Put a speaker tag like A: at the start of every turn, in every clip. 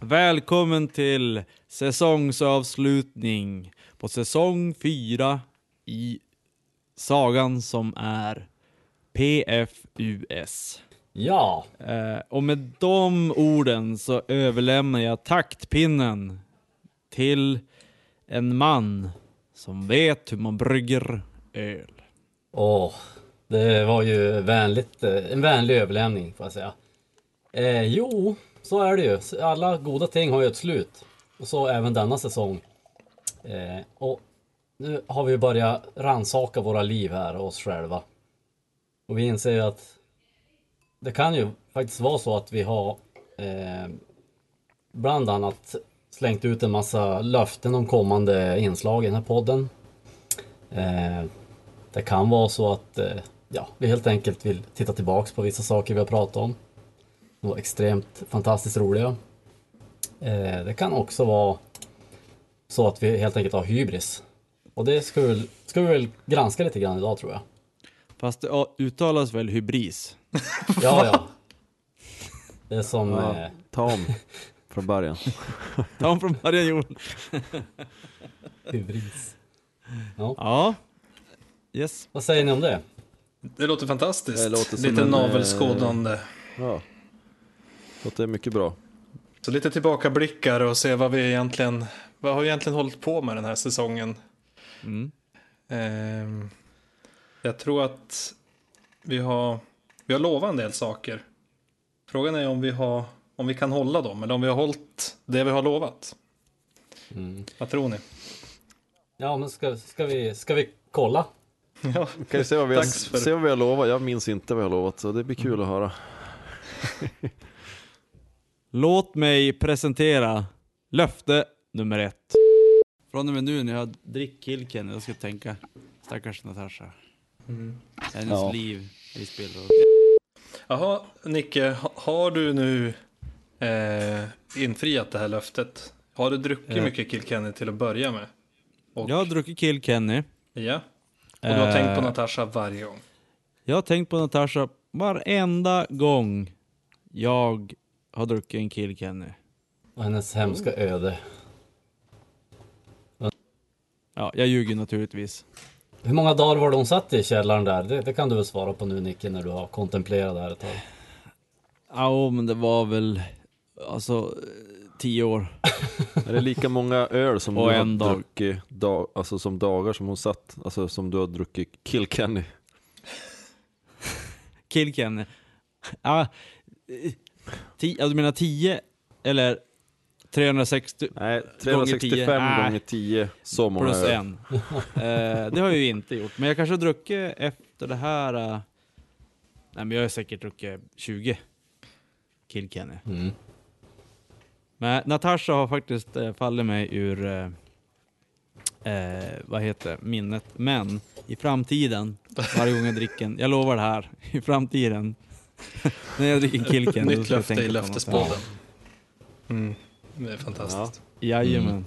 A: Välkommen till säsongsavslutning på säsong 4 i sagan som är PFUS.
B: Ja,
A: Eh, och med de orden så överlämnar jag taktpinnen till en man som vet hur man brygger öl.
B: åh. Det var ju vänligt, eh, en vänlig överlämning får jag säga. Eh, jo, så är det ju. Alla goda ting har ju ett slut. Och så även denna säsong. Eh, och nu har vi börjat ransaka våra liv här och oss själva. Och vi inser ju att det kan ju faktiskt vara så att vi har eh, bland annat slängt ut en massa löften om kommande inslag i den här podden. Eh, Det kan vara så att eh, ja, vi helt enkelt vill titta tillbaks på vissa saker vi har pratat om. De var extremt fantastiskt roliga. Eh, Det kan också vara så att vi helt enkelt har hybris. Och det ska vi, väl- ska vi väl granska lite grann idag tror jag.
A: Fast det ja, uttalas väl hybris?
B: Ja, ja. Det är som...
C: Ja,
B: eh,
C: ta om från början.
A: Ta om från början Joel.
B: Hybris.
A: Ja. Yes.
B: Vad säger ni om det?
D: Det låter fantastiskt.
C: Det låter som
D: lite
C: en, eh,
D: navelskådande.
C: Ja. Låter mycket bra.
D: Så lite tillbakablickar och se vad vi egentligen, vad har vi egentligen hållit på med den här säsongen.
A: Mm.
D: Ehm, jag tror att vi har, vi har lovat en del saker. Frågan är om vi, har, om vi kan hålla dem eller om vi har hållit det vi har lovat.
C: Mm.
D: Vad tror ni?
B: Ja, men ska, ska, vi, ska vi kolla?
D: Ja,
C: Kan ju se vad vi har,
D: Dags för-
C: se vad vi har lovat. Jag minns inte vad jag har lovat, så det blir kul att höra.
A: Låt mig presentera löfte nummer ett. Från och med nu när jag dricker Kenny, jag ska tänka stackars Natasha. Mm. Hennes
C: Ja.
A: liv är i spel.
D: Jaha, Nicke, ha- har du nu eh, infriat det här löftet? Har du druckit
A: Eh.
D: mycket Kilkenny till att börja med? Och,
A: Jag har druckit eh. kill Kenny.
D: ja. Och du har
A: Eh.
D: tänkt på Natasha varje gång?
A: Jag har tänkt på Natasha varenda gång jag har druckit en eh. kill Kenny.
B: Och hennes hemska öde.
A: Ja, jag ljuger naturligtvis.
B: Hur många dagar var det hon satt i källaren där? Det, det kan du väl svara på nu Nicke när du har kontemplerat det här ett tag.
A: Ja, men det var väl alltså eh, tio år.
C: Är det lika många öl som du
A: Och en
C: har
A: dag.
C: druckit dag, alltså som dagar som hon satt, alltså som du har druckit Kilkenny?
A: Kill Kenny. Ja, eh, ti- ja, du menar tio eller 360?
C: Nej,
A: tio.
C: 365
A: Nej.
C: gånger 10, så många
A: Plus
C: öl.
A: en. Eh, det har jag ju inte gjort, men jag kanske har druckit efter det här... eh, nej, men jag har säkert druckit 20 Kill Kenny.
B: Mm.
A: Men Natasha har faktiskt eh, fallit mig ur, eh, eh, vad heter det, minnet. Men i framtiden, varje gång jag dricker en, jag lovar det här, i framtiden, när jag dricker Kill Kenny, då
D: Nytt
A: ska jag
D: löfte i
A: tänka på något.
D: löftespodden. Mm, det är fantastiskt.
A: Jajamän.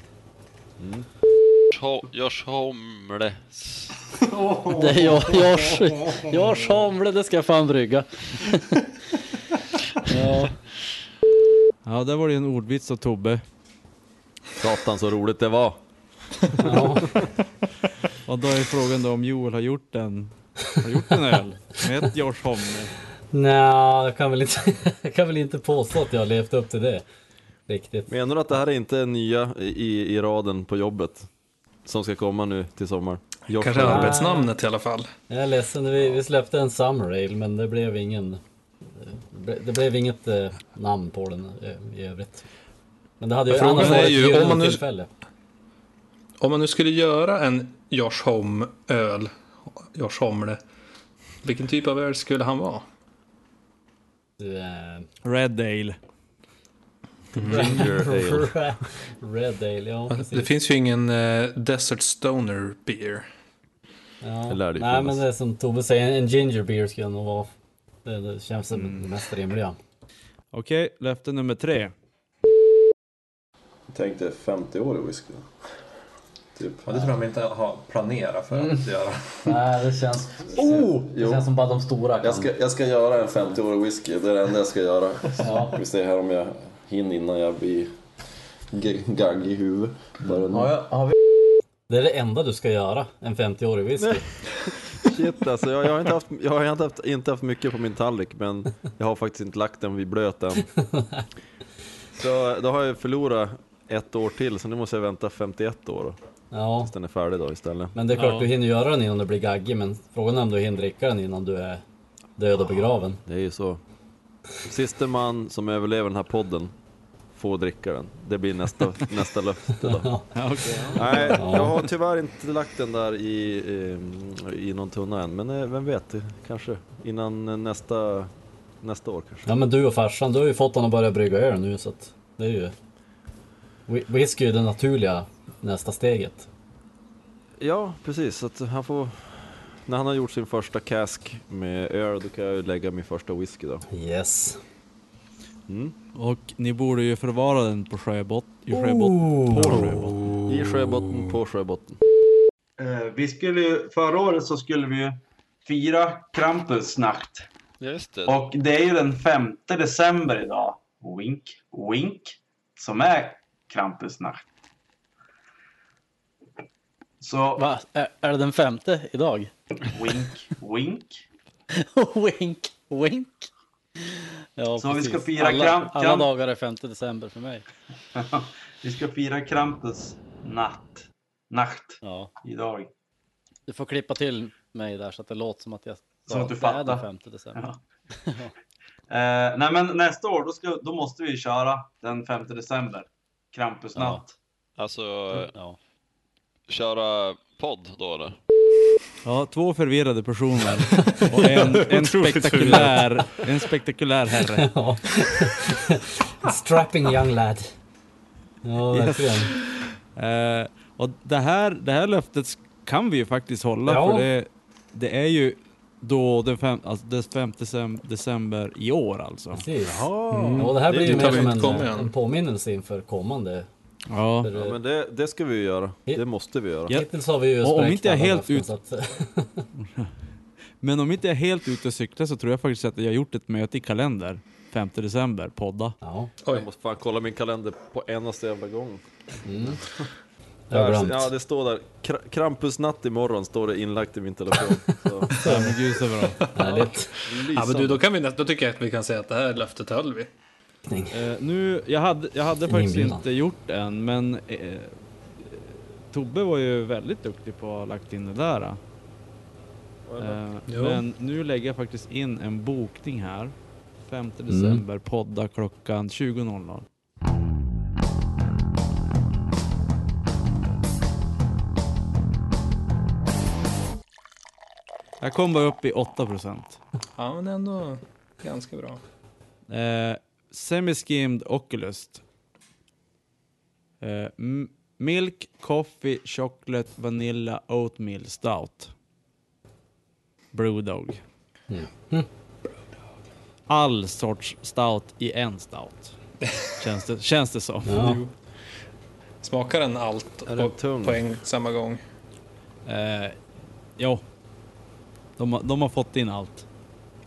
E: Görs Homle.
B: Det är jag, jag, jag Samle, det ska jag fan brygga. ja.
A: Ja, där var det ju en ordvits av Tobbe.
C: Satan så roligt det var.
A: Och då är frågan då om Joel har gjort en, har gjort en öl med ett Josh Homle.
B: Nja, jag kan väl inte, jag kan väl inte påstå att jag har levt upp till det. Riktigt.
C: Menar du att det här är inte nya i, i raden på jobbet? Som ska komma nu till sommaren? Josh
D: Kanske
C: Holm.
D: arbetsnamnet i alla fall.
B: Jag är ledsen, vi, vi släppte en Summer Ale men det blev ingen... Det ble- det blev inget eh, namn på den eh, i övrigt. Men det hade ju
D: Frågan
B: annars
D: är
B: varit ett
D: ju om
B: gyllene
D: man nu-
B: tillfälle.
D: Om man nu skulle göra en Josh Holm-öl, Josh Homle, vilken typ av öl skulle han vara?
B: Du, eh,
A: Red Ale.
C: Ginger ale.
B: Red Ale, ja
D: Det
B: precis.
D: finns ju ingen eh, Desert Stoner Beer.
B: Ja.
C: Det lär det ju
B: Nej
C: finnas.
B: men det är som Tobbe säger, en ginger beer skulle jag nog vara. Det, det känns som det mest rimliga.
A: Okej, löfte nummer tre.
F: Tänk dig 50 år i whisky. Typ. Och det tror jag de inte har planerat för att göra.
B: Nej, det känns...
F: Oh!
B: Det
F: Jo,
B: känns som bara de stora kan...
F: jag ska, jag ska göra en 50-årig whisky. Det är det enda jag ska göra.
B: Ja.
F: Vi ser här om jag hinner innan jag blir g- gagg i huvudet. Bara nu.
B: Har, jag, har vi... Det är det enda du ska göra, en 50-årig whisky.
C: Shit alltså, jag, jag har, inte haft, jag har inte, haft, inte haft mycket på min tallrik men jag har faktiskt inte lagt den vid blöt än. Så då har jag förlorat ett år till så nu måste jag vänta 51 år då,
B: Ja,
C: tills den är färdig då istället.
B: men det är klart
A: Ja.
B: du hinner göra den innan du blir gaggig, men frågan är om du hinner dricka den innan du är död och begraven.
C: Det är ju så. Siste man som överlever den här podden får dricka den. Det blir nästa, nästa löfte då.
A: Ja, okej.
C: Nej, jag har tyvärr inte lagt den där i, eh, i någon tunna än, men eh, vem vet, eh, kanske innan eh, nästa, nästa år kanske.
B: Ja, men du och farsan, du har ju fått honom att börja brygga öl nu, så att det är ju... Whi- Whisky är ju det naturliga nästa steget.
C: Ja, precis, så att han får, när han har gjort sin första cask med öl, då kan jag ju lägga min första whisky då.
B: Yes.
C: Mm.
A: Och ni borde ju förvara den på sjöbott, i sjöbotten.
B: Oh.
C: På sjöbotten. I sjöbotten, på sjöbotten.
G: Eh, vi skulle ju, förra året så skulle vi ju fira Krampus natt.
E: Just det.
G: Och det är ju den 5 december idag. Wink, wink. Som är Krampus natt. Så
H: Va? Är, är det den femte idag?
G: wink, wink.
H: wink, wink. Ja,
G: Så vi
H: precis.
G: ska fira
H: alla,
G: kramp-
H: alla
G: kramp-
H: dagar är 5 december för mig.
G: vi ska fira Krampus natt. Natt
H: Ja.
G: idag.
H: Du får klippa till mig där så att det låter som att jag
G: Så att du
H: det är den
G: fattar.
H: 5 december.
G: Ja. Eh, nej men nästa år då, ska, då måste vi köra den 5 december. Krampus
H: Ja.
G: natt.
E: Alltså,
H: Ja.
E: köra podd då eller?
A: Ja, två förvirrade personer och en, en, spektakulär, en spektakulär herre.
B: Ja. Strapping young lad. Ja, verkligen.
A: Eh, och det här, det här löftet kan vi ju faktiskt hålla
B: Ja.
A: för det, det är ju då den fem, alltså den 5 decem- december i år alltså.
B: Precis. Mm. Och det här
D: Det
B: blir ju
D: dit har
B: mer
D: vi
B: som
D: inte
B: en,
D: kommit än.
B: en påminnelse inför kommande.
A: Ja.
B: För,
C: Ja,
B: eh,
C: men det, det ska vi ju göra. Det måste vi göra.
A: Ja.
B: Hittills har vi ju
A: Och om
B: spräckt
A: inte jag
B: alla
A: helt
B: löften,
A: ut-
B: så att, eh,
A: Men om inte jag är helt ute och cyklar så tror jag faktiskt att jag har gjort ett möte i kalender 5 december, podda.
B: Ja,
C: Jag måste fan kolla min kalender på enaste jävla gång.
B: Mm. jag har glömt.
C: Ja, det står där. Kra- Krampusnatt imorgon står det inlagt i min telefon. Så,
A: Ja, men gud så bra.
B: Härligt.
D: Ja, men du,
C: lysande.
D: då, kan vi, nä- då tycker jag att vi kan säga att det här löftet höll vi.
A: Eh, nu, jag hade, jag hade faktiskt
B: inbjudan.
A: inte gjort en, men eh, eh, Tobbe var ju väldigt duktig på att ha lagt in det där. eh. Eh,
D: Jo.
A: men nu lägger jag faktiskt in en bokning här. 5 december, podda klockan 20.00. Jag kom bara upp i 8 procent.
D: Ja, men ändå ganska bra.
A: Eh, Semiskimmed Oculus. Eh, m- milk, coffee, chocolate, vanilla, oatmeal, stout. Brewdog. Hm. All sorts stout i en stout. Känns det, känns det som.
B: Ja.
D: Smakar den allt
C: Är den
D: och
C: tung?
D: på en samma gång?
A: Eh, jo. De, har- de har fått in allt.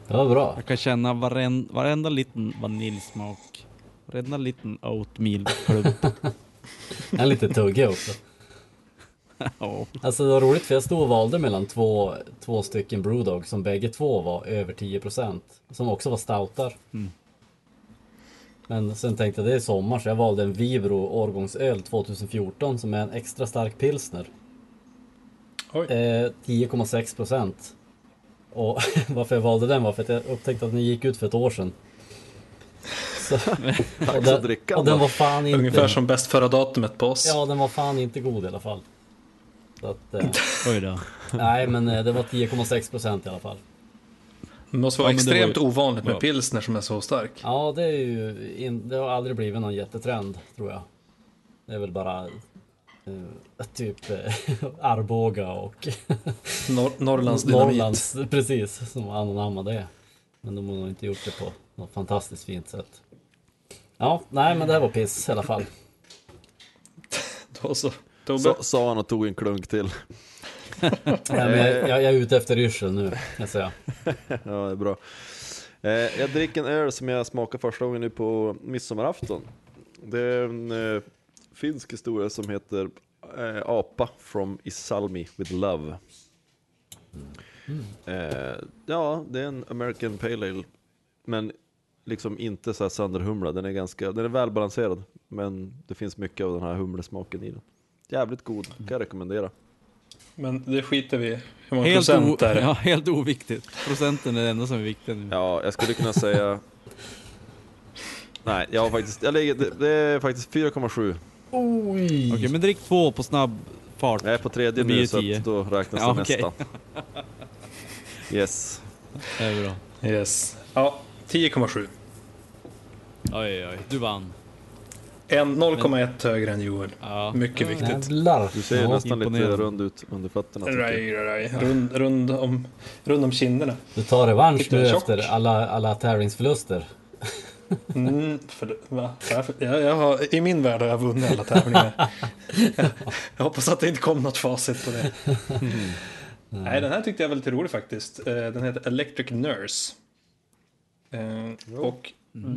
B: Det var bra.
A: Jag kan känna varenda, varenda liten vaniljsmak. Varenda liten oatmeal-klump.
B: En liten tugga också.
A: Ja.
B: Alltså det var roligt för jag stod och valde mellan två, två stycken Brewdog som bägge två var över 10% som också var stoutar.
D: Mm.
B: Men sen tänkte jag det är sommar så jag valde en Vibro årgångsöl 2014 som är en extra stark pilsner.
D: Oj.
B: Eh, 10,6% Och varför jag valde den var för att jag upptäckte att den gick ut för ett år sedan. Så, och,
C: att
B: den,
C: dricka
B: och den
C: då.
B: var fan inte...
D: Ungefär som bäst före datumet på oss.
B: Ja den var fan inte god i alla fall. Så att, eh,
A: Oj då.
B: Nej, men eh, det var 10,6 procent i alla fall.
D: Det måste vara
A: Ja, men det var ju-
D: extremt ovanligt med
A: Ja.
D: pilsner som är så stark.
B: Ja, det är ju in, det har aldrig blivit någon jättetrend tror jag. Det är väl bara eh, typ eh, Arboga och
D: Nor Norrlands dynamit.
B: Norrlands, precis, som ananammar det. Men de har nog inte gjort det på något fantastiskt fint sätt. Ja, nej, men det här var piss i alla fall.
D: Då så. Tobbe?
C: Sa, sa han och tog en klunk till.
B: Nej, men jag, jag, jag är ute efter yrsel nu, kan jag säga.
C: Ja, det är bra. Eh, jag dricker en öl som jag smakar första gången nu på midsommarafton. Det är en eh, finsk historia som heter eh, Apa from Isalmi with Love. Eh, ja, det är en American Pale Ale, men liksom inte så här sönderhumlad. Den är ganska, den är välbalanserad, men det finns mycket av den här humlesmaken i den. Jävligt god, kan jag rekommendera.
D: Men det skiter vi i. Hur många
A: Helt, o-
D: procent är det?
A: ja, helt oviktigt. Procenten är det enda som är viktigt nu.
C: Ja, jag skulle kunna säga... Nej, jag har faktiskt... Jag lägger, det, det är faktiskt 4,7.
A: Okej, men drick två på snabb fart.
C: Jag är på tredje
A: Det blir
C: nu
A: ju
C: så
A: tio.
C: att då räknas
A: Ja,
C: det
A: okej.
C: nästa. Yes.
A: Det är bra.
D: Yes. Ja, 10,7.
A: Oj, oj, oj. Du vann.
D: En- 0,1 högre än Joel.
A: Ja.
D: Mycket viktigt.
B: Jävlar.
C: Du ser ju nästan lite
A: imponerande.
C: rund ut under fötterna. tycker jag.
D: Raj, raj, raj. Rund, rund, om, rund om kinderna.
B: Du tar revansch
D: Fick du
B: nu
D: en chock?
B: efter alla, alla tävlingsförluster.
D: Mm, för, va? Varför? Jag, jag har, I min värld har jag vunnit alla tävlingar. Jag- jag hoppas att det inte kom något facit på det. Nej, den här tyckte jag var lite rolig faktiskt. Eh, Den heter Electric Nurse. Eh, Och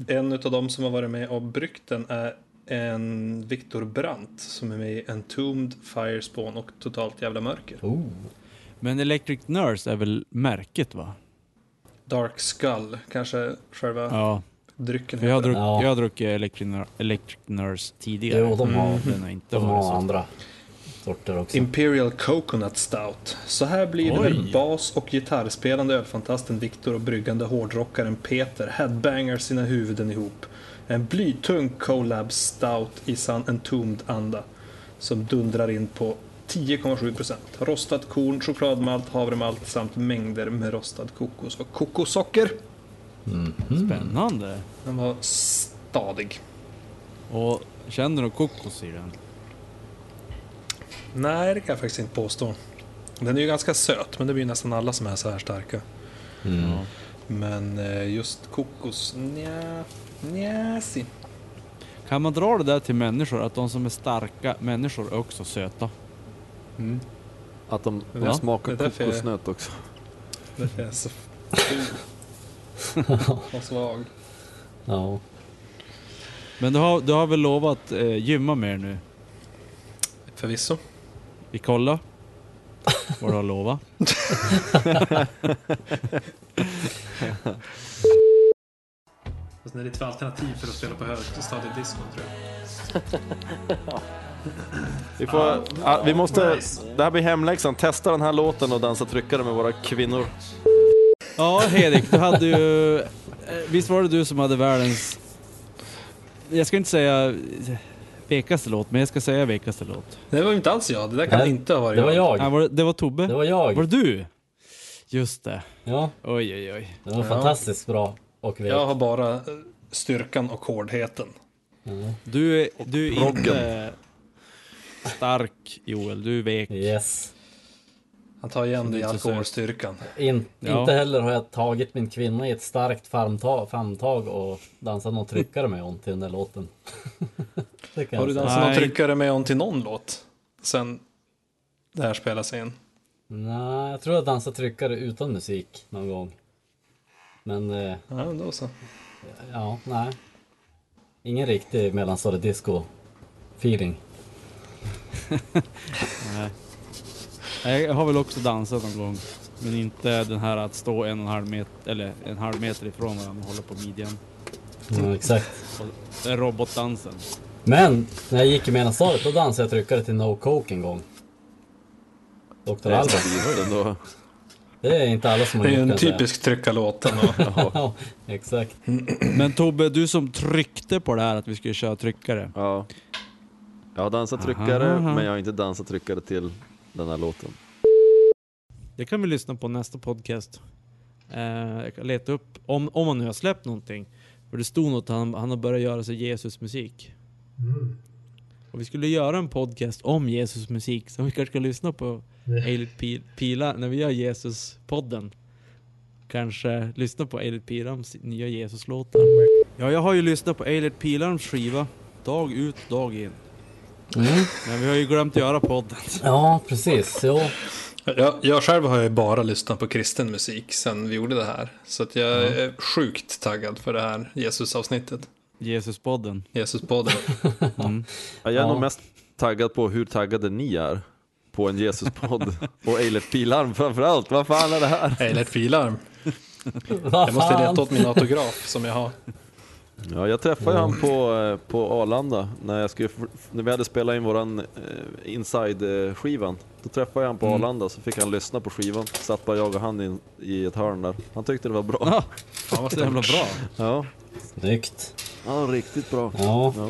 D: en av dem som har varit med och bryggt den är en Viktor Brandt som är med i Entombed, Firespawn och Totalt Jävla Mörker.
B: Oh.
A: Men Electric Nurse är väl märket va?
D: Dark Skull, kanske själva
A: Ja,
D: drycken
A: för jag har
D: heter.
A: druckit,
B: Ja.
A: jag har druckit Electric, Nur- Electric Nurse tidigare. Mm.
B: Jo, de har-
A: Den har inte
B: De
A: varit
B: har
A: så.
B: andra sorter också.
D: Imperial Coconut Stout. Så här blir det
A: Oj.
D: med bas och gitarrspelande ölfantasten Viktor och bryggande hårdrockaren Peter headbangar sina huvuden ihop. En blytung collab stout i sann entombed anda som dundrar in på 10,7 Rostat korn, chokladmalt, havremalt samt mängder med rostad kokos och kokossocker.
B: Mm.
A: Spännande.
D: Den var stadig.
A: Och känner du kokos i den?
D: Nej, det kan jag faktiskt inte påstå. Den är ju ganska söt, men det blir ju nästan alla som är så här starka.
B: Mm.
A: Ja.
D: Men eh, just kokos, nja, nja, si.
A: Kan man dra det där till människor, att de som är starka människor är också söta?
C: Att de, de
A: Ja,
C: smakar
D: det är därför jag-
C: kokosnöt också.
D: Det är så och svag.
B: Ja.
A: Men du har, du har väl lovat eh, gymma mer nu?
D: Förvisso.
A: Vi kollar vad du har lovat.
D: Fast det är lite för alternativ för att spela på högstadiet disco tror jag.
C: Vi, får, ah, vi måste... Det här blir hemläxan. Testa den här låten och dansa tryckare med våra kvinnor.
A: Ja, Hedek, du hade ju... eh, Visst var det du som hade världens... Jag ska inte säga eh, vekaste låt, men jag ska säga vekaste låt.
D: Det var ju inte alls jag, det där kan
B: Nej,
D: inte ha varit
B: Det var
A: Nej,
B: jag.
A: var det, det var Tobbe.
B: Det
A: var,
B: var jag.
A: det du? Just det.
B: Ja,
A: Oj, oj, oj.
B: det var fantastiskt bra. Och vi...
D: Jag har bara eh, styrkan och hårdheten.
A: Du, är- du är inte stark, Joel. Du är vek.
B: Yes.
D: Han tar igen det i
A: är inte så
D: alkoholstyrkan.
B: In,
A: Ja.
B: Inte heller har jag tagit min kvinna i ett starkt famntag, famntag och dansat någon tryckare med hon till den där låten. Det kan
D: Har du
B: jag säga.
D: dansat någon
A: Nej.
D: tryckare med on till någon låt? Sen det här spelas in.
B: Nej, jag tror jag dansat tryckare utan musik någon gång. Men eh,
D: Ja, men då så.
B: ja, nej. Ingen riktig mellanstadiedisco-feeling.
A: Nej, Jag har väl också dansat någon gång. Men inte den här att stå en och en halv meter, eller en halv meter ifrån varandra och hålla på midjan.
B: Ja, exakt.
A: Det är robotdansen.
B: Men när jag gick i mellanstadiet då dansade jag tryckare till No Coke en gång. Dr. Albert.
C: Ändå.
B: Det är inte alla som har
D: Det är ju
B: gjort kan
D: en
B: jag säga.
D: typisk tryckarlåt. ändå.
B: Ja, exakt.
A: Men Tobbe, du som tryckte på det här att vi skulle köra tryckare.
C: Ja. Jag har dansat tryckare,
A: Aha, aha.
C: men jag har inte dansat tryckare till den här låten.
A: Det kan vi lyssna på nästa podcast. Eh, jag kan leta upp, om, om han nu har släppt någonting. För det stod något, han, han har börjat göra sig Jesus-musik. Och vi skulle göra en podcast om Jesus-musik, så vi kanske ska lyssna på Eilert Pil, Pila när vi gör Jesus-podden. Kanske lyssna på Eilert Pilams nya Jesus-låtar. Ja, jag har ju lyssnat på Eilert Pilams skiva dag ut, dag in.
B: Mm.
A: Men vi har ju glömt göra podden.
B: Ja, precis. Jo.
D: Jag, jag själv har ju bara lyssnat på kristen musik sen vi gjorde det här. Så att jag är sjukt taggad för det här Jesus-avsnittet.
A: Jesuspodden.
D: Jesus-podden.
C: Ja, Jag är nog mest taggad på hur taggade ni är på en Jesuspodd och Eilert Pilarm framförallt. Vad fan är det här?
D: Eilert Filarm.
B: Vad
D: Jag måste
B: fan?
D: leta åt min autograf som jag har.
C: Ja, jag träffade han på, eh, på Arlanda när, jag skulle, när vi hade spelat in våran eh, inside-skivan. Då träffade jag han på Arlanda så fick han lyssna på skivan. Satt bara jag och han in, i ett hörn där. Han tyckte det var bra.
A: Ja,
D: Fan vad
A: så jävla
D: stort.
A: bra.
C: Ja,
B: Snyggt.
C: ja riktigt bra.
B: Ja.
C: Ja.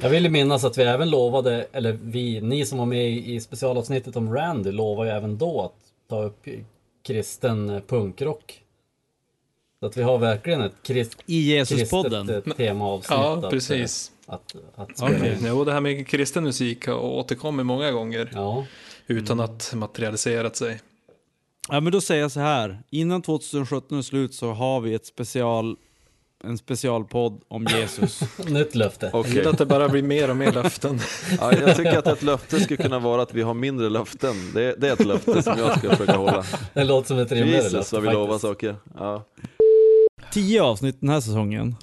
B: Jag vill ju minnas att vi även lovade, eller vi, ni som var med i specialavsnittet om Randy lovade ju även då att ta upp kristen eh, punkrock. Så att vi har verkligen ett krist,
A: I
B: kristet
A: Jesuspodden.
B: eh, temaavsnitt.
D: Ja,
B: att,
D: precis.
B: eh, Att, att spela
A: Okej.
B: in.
D: Jo, det här med kristen musik har återkommit många gånger
B: Ja,
D: utan att materialiserat sig.
A: Ja, men då säger jag så här. Innan 2017 är slut så har vi ett special, en specialpodd om Jesus.
B: nytt löfte.
D: Jag gillar att det bara blir mer och mer löften.
C: Ja, jag tycker att ett löfte skulle kunna vara att vi har mindre löften. Det, det är ett löfte som jag ska försöka hålla.
B: Det låter som ett rimligare löfte
C: Jesus vad vi
B: faktiskt.
C: lovar saker. Ja.
A: Tio avsnitt den här säsongen.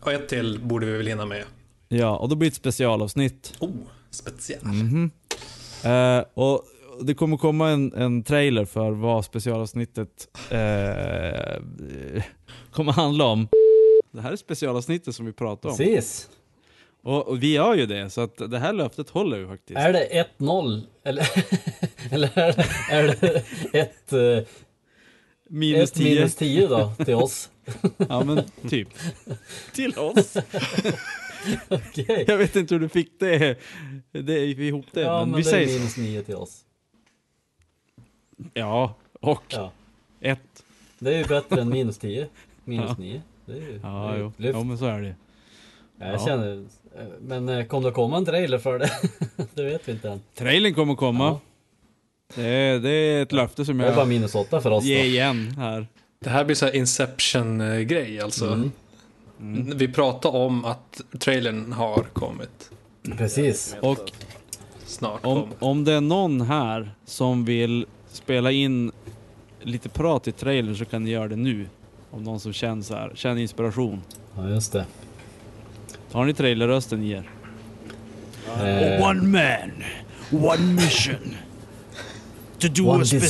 D: Och ett till borde vi väl hinna med.
A: Ja, och då blir det ett specialavsnitt. Mhm.
D: Oh, speciell.
A: Eh, och det kommer komma en, en trailer för vad specialavsnittet eh, eh, kommer handla om. Det här är specialavsnittet som vi pratar om.
B: Precis.
A: Och, och vi gör ju det, så att det här löftet håller ju faktiskt.
B: Är det 1-0 eller, eller är det, är det ett, eh,
A: Minus
B: ett
A: tio.
B: minus 10 då till oss?
A: Ja, men typ. Till oss.
B: Okej.
A: Jag vet inte hur du fick det, det ihop det.
B: Ja,
A: men,
B: men,
A: vi
B: det
A: säger
B: är
A: så.
B: minus 9 till oss.
A: Ja, och
B: Ja.
A: ett.
B: Det är ju bättre än minus 10. Minus 9. Det är ju det
A: Ja,
B: är ju
A: jo.
B: ett lyft.
A: ja, men så är det.
B: Ja, jag
A: ja.
B: känner, eh, men eh, kommer det komma en trailer för det? det vet vi inte än.
A: Trailern kommer komma.
B: Ja.
A: Det, är, det är ett löfte som
B: Det är bara
A: jag
B: minus 8 för oss då.
A: ger igen här.
D: Det här blir så här Inception-grej alltså. Vi pratar om att trailern har kommit.
B: Precis.
A: Och
D: Snart
A: om,
D: kommer.
A: om det är någon här som vill spela in lite prat i trailern så kan ni göra det nu. Om någon som känner, så här, känner inspiration.
B: Ja, just det.
A: Har ni trailerrösten i er?
B: Eh,
A: One man, one mission. To do
B: One a special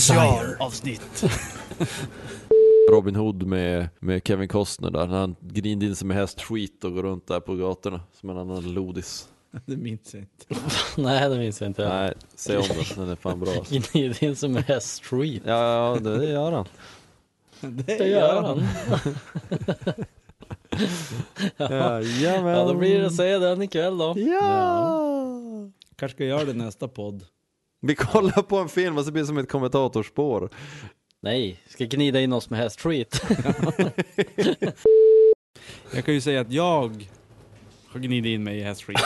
B: desire.
A: avsnitt.
C: Robin Hood med, med Kevin Costner där, när han grinade in sig med hästskit och går runt där på gatorna som en annan lodis.
A: Det minns jag inte.
H: Nej, det minns jag inte.
C: Nej, se om den, den är fan bra. alltså.
H: Gnid in som är street.
C: Ja, ja, det gör han.
H: Det gör han.
C: Jajamän.
H: Ja, då blir det att säga den ikväll då.
C: Ja!
A: Kanske ska jag göra det i nästa podd.
C: Vi kollar på en film och så blir det som ett kommentatorspår.
H: Nej, ska gnida in oss med här street.
A: Jag kan ju säga att jag har gnidit in mig i hästskit.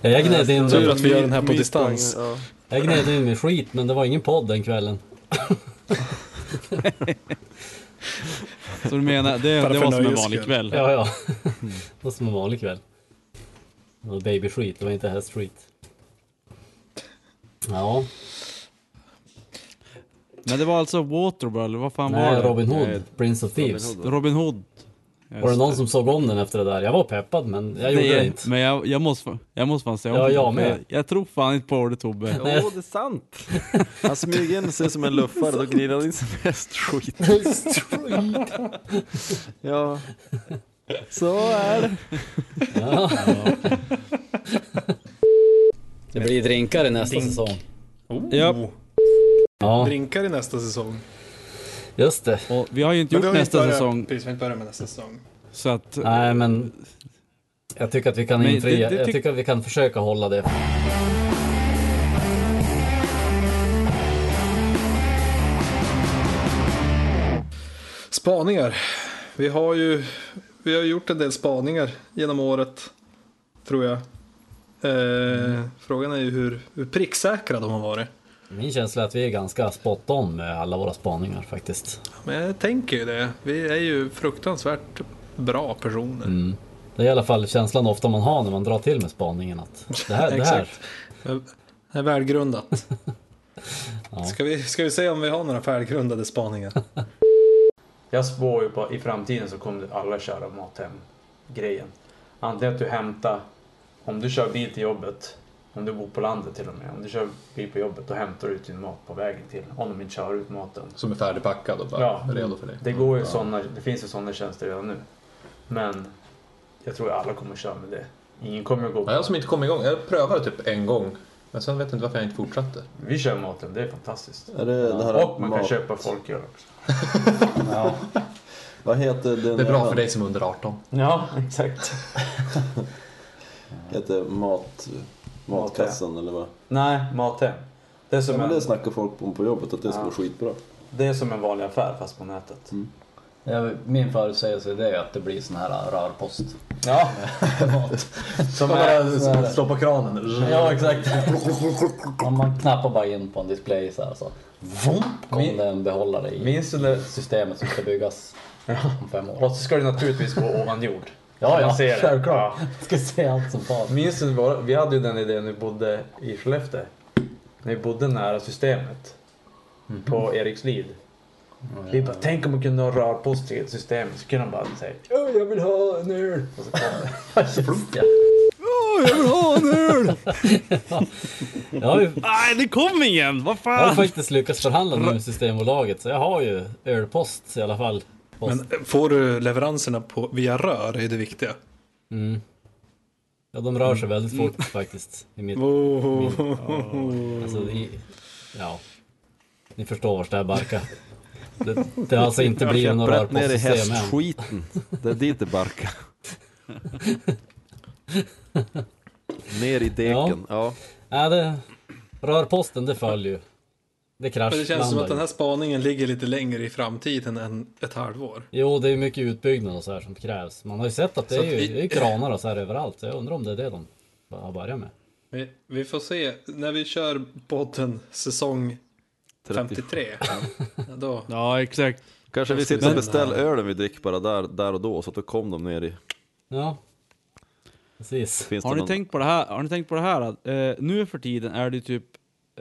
B: jag gned in,
D: Tur Typ att vi gör den här på
C: Mitt
D: distans.
C: poäng, ja.
B: jag gned in med skit, men det var ingen podd den kvällen.
A: Så du menar, det,
D: Bara
A: det
D: för
A: var som en
D: nöjes
A: vanlig
D: skull.
A: kväll.
B: Ja, ja. det var som en vanlig kväll. Det var baby street, det var inte här street. Ja,
A: Men det var alltså Waterboy, eller vad fan var
B: nej,
A: det? Eh,
B: Robin Hood,
C: Nej,
B: Prince of Thieves.
C: Robin Hood.
A: Robin Hood.
B: Var det någon som såg om den efter det där? Jag var peppad, men jag gjorde
A: Nej,
B: det inte.
A: Men jag, jag, måste, fa- jag måste fan säga om
B: Ja,
A: det.
B: jag med.
A: Jag, jag tror fan inte på det Tobbe.
C: Jo, det är sant. Han smyger in sig som en luffare, då glider han in som hästskit. Ja, så är det.
H: Det blir drinkar i nästa säsong.
D: Oh,
A: Ja.
B: Ja,
D: Drinkar i nästa säsong.
B: just det.
A: Och vi har ju inte
D: Men
A: gjort
D: vi har ju inte
A: nästa
D: börjat-
A: säsong,
D: Precis, vi har inte börjat med nästa säsong.
A: så att...
B: Nej, men jag tycker att vi kan
A: Men det-
B: infria.
A: det
B: Jag
A: tyck-
B: tycker att vi kan försöka hålla det.
D: Spaningar. Vi har ju vi har gjort en del spaningar genom året. Tror jag. Eh, Frågan är ju hur, hur pricksäkra de har varit.
B: Min känsla är att vi är ganska spot on med alla våra spaningar faktiskt.
D: Men jag tänker ju det. Vi är ju fruktansvärt bra personer.
B: Det är i alla fall känslan ofta man har när man drar till med spaningen att det här, det här.
D: Exakt. Det är välgrundat. Ska, vi, ska vi se om vi har några välgrundade spaningar?
I: Jag spår ju på i framtiden så kommer alla köra mathem-grejen. Antingen att du hämtar, om du kör bil till jobbet, om du bor på landet till och med, om du kör bil på jobbet då hämtar du ut din mat på vägen till, om de inte kör ut maten.
J: Som är färdigpackad och bara
I: Ja,
J: redo för dig.
I: Det, går ju såna, det finns ju sådana tjänster redan nu. Men jag tror att alla kommer köra med det. Ingen kommer att gå
J: Ja, jag som inte kom igång. Jag prövade typ en gång. Men sen vet jag inte varför jag inte fortsatte.
I: Vi kör maten, det är fantastiskt.
F: Är det det här
I: Och man kan
F: mat-
I: köpa folköl också.
F: Vad heter den
J: Det är bra
F: ön?
J: för dig som är under 18.
I: Ja, exakt.
F: Heter mat... Matkassan eller vad?
I: Nej, Mathem. Det är
F: Ja,
I: som,
F: men
I: en,
F: det snackar folk om på jobbet att det skulle vara skitbra. Mm.
I: det är som en vanlig affär fast på nätet.
H: Jag, min förutsägelse det är att det blir sån här äh, rörpost.
I: Ja,
H: Som är, slå på kranen. Ja exakt. Man, man knappar bara in på en display så här så. Vump, kom det en behållare i
I: minns du när...
H: systemet som ska byggas om fem år.
I: Och så ska det naturligtvis gå ovan jord.
H: Ja, ja,
I: Man ser det.
H: självklart. Jag ska se allt som fan.
I: Minns du, våra- vi hade ju den idén när vi bodde i Skellefteå. När vi bodde nära systemet.
B: Mhm.
I: På Erikslid. Vi bara, tänk om man kunde ha rörpost till systemet. Så kunde de bara säga, "Ja, jag vill ha en öl. Och så kom det.
B: Jag har ju
A: Nej, det kom igen! Vad
B: Jag har
A: fan!
B: faktiskt lyckats förhandla nu med Systembolaget så jag har ju ölpost i alla fall. Post.
D: Men får du leveranserna på, via rör är det viktiga.
B: Ja, de rör sig väldigt fort faktiskt. I mitt,
D: Mm. Oh.
B: alltså, i, ja. Ni förstår vart det här barkar. Det, det har alltså inte blivit något
C: Käpprätt ner i
B: rörpostsystem än.
C: hästskiten. Det är dit det barkar. ner i deken. Ja.
B: Nej, det, rörposten det följer ju. Det
D: Men det känns som att den
B: kraschlandar ju.
D: här spaningen ligger lite längre i framtiden än ett halvår.
B: Jo, det är mycket utbyggnad och så här som krävs. Man har ju sett att det
D: Så
B: är,
D: att
B: ju,
D: vi-
B: det är ju kranar och så här överallt. Så jag undrar om det är det de har börjat med.
D: Vi, vi får se. När vi kör podden säsong 53. Då.
A: Ja, exakt.
C: Kanske vi sitter och beställer ölen vi dricker bara där, där och då, så att då kom de ner i...
B: Ja, precis.
C: Finns
A: Har
C: det
A: ni
C: någon...
A: tänkt på det här? Har ni tänkt på det här? Att, eh, nu för tiden är det typ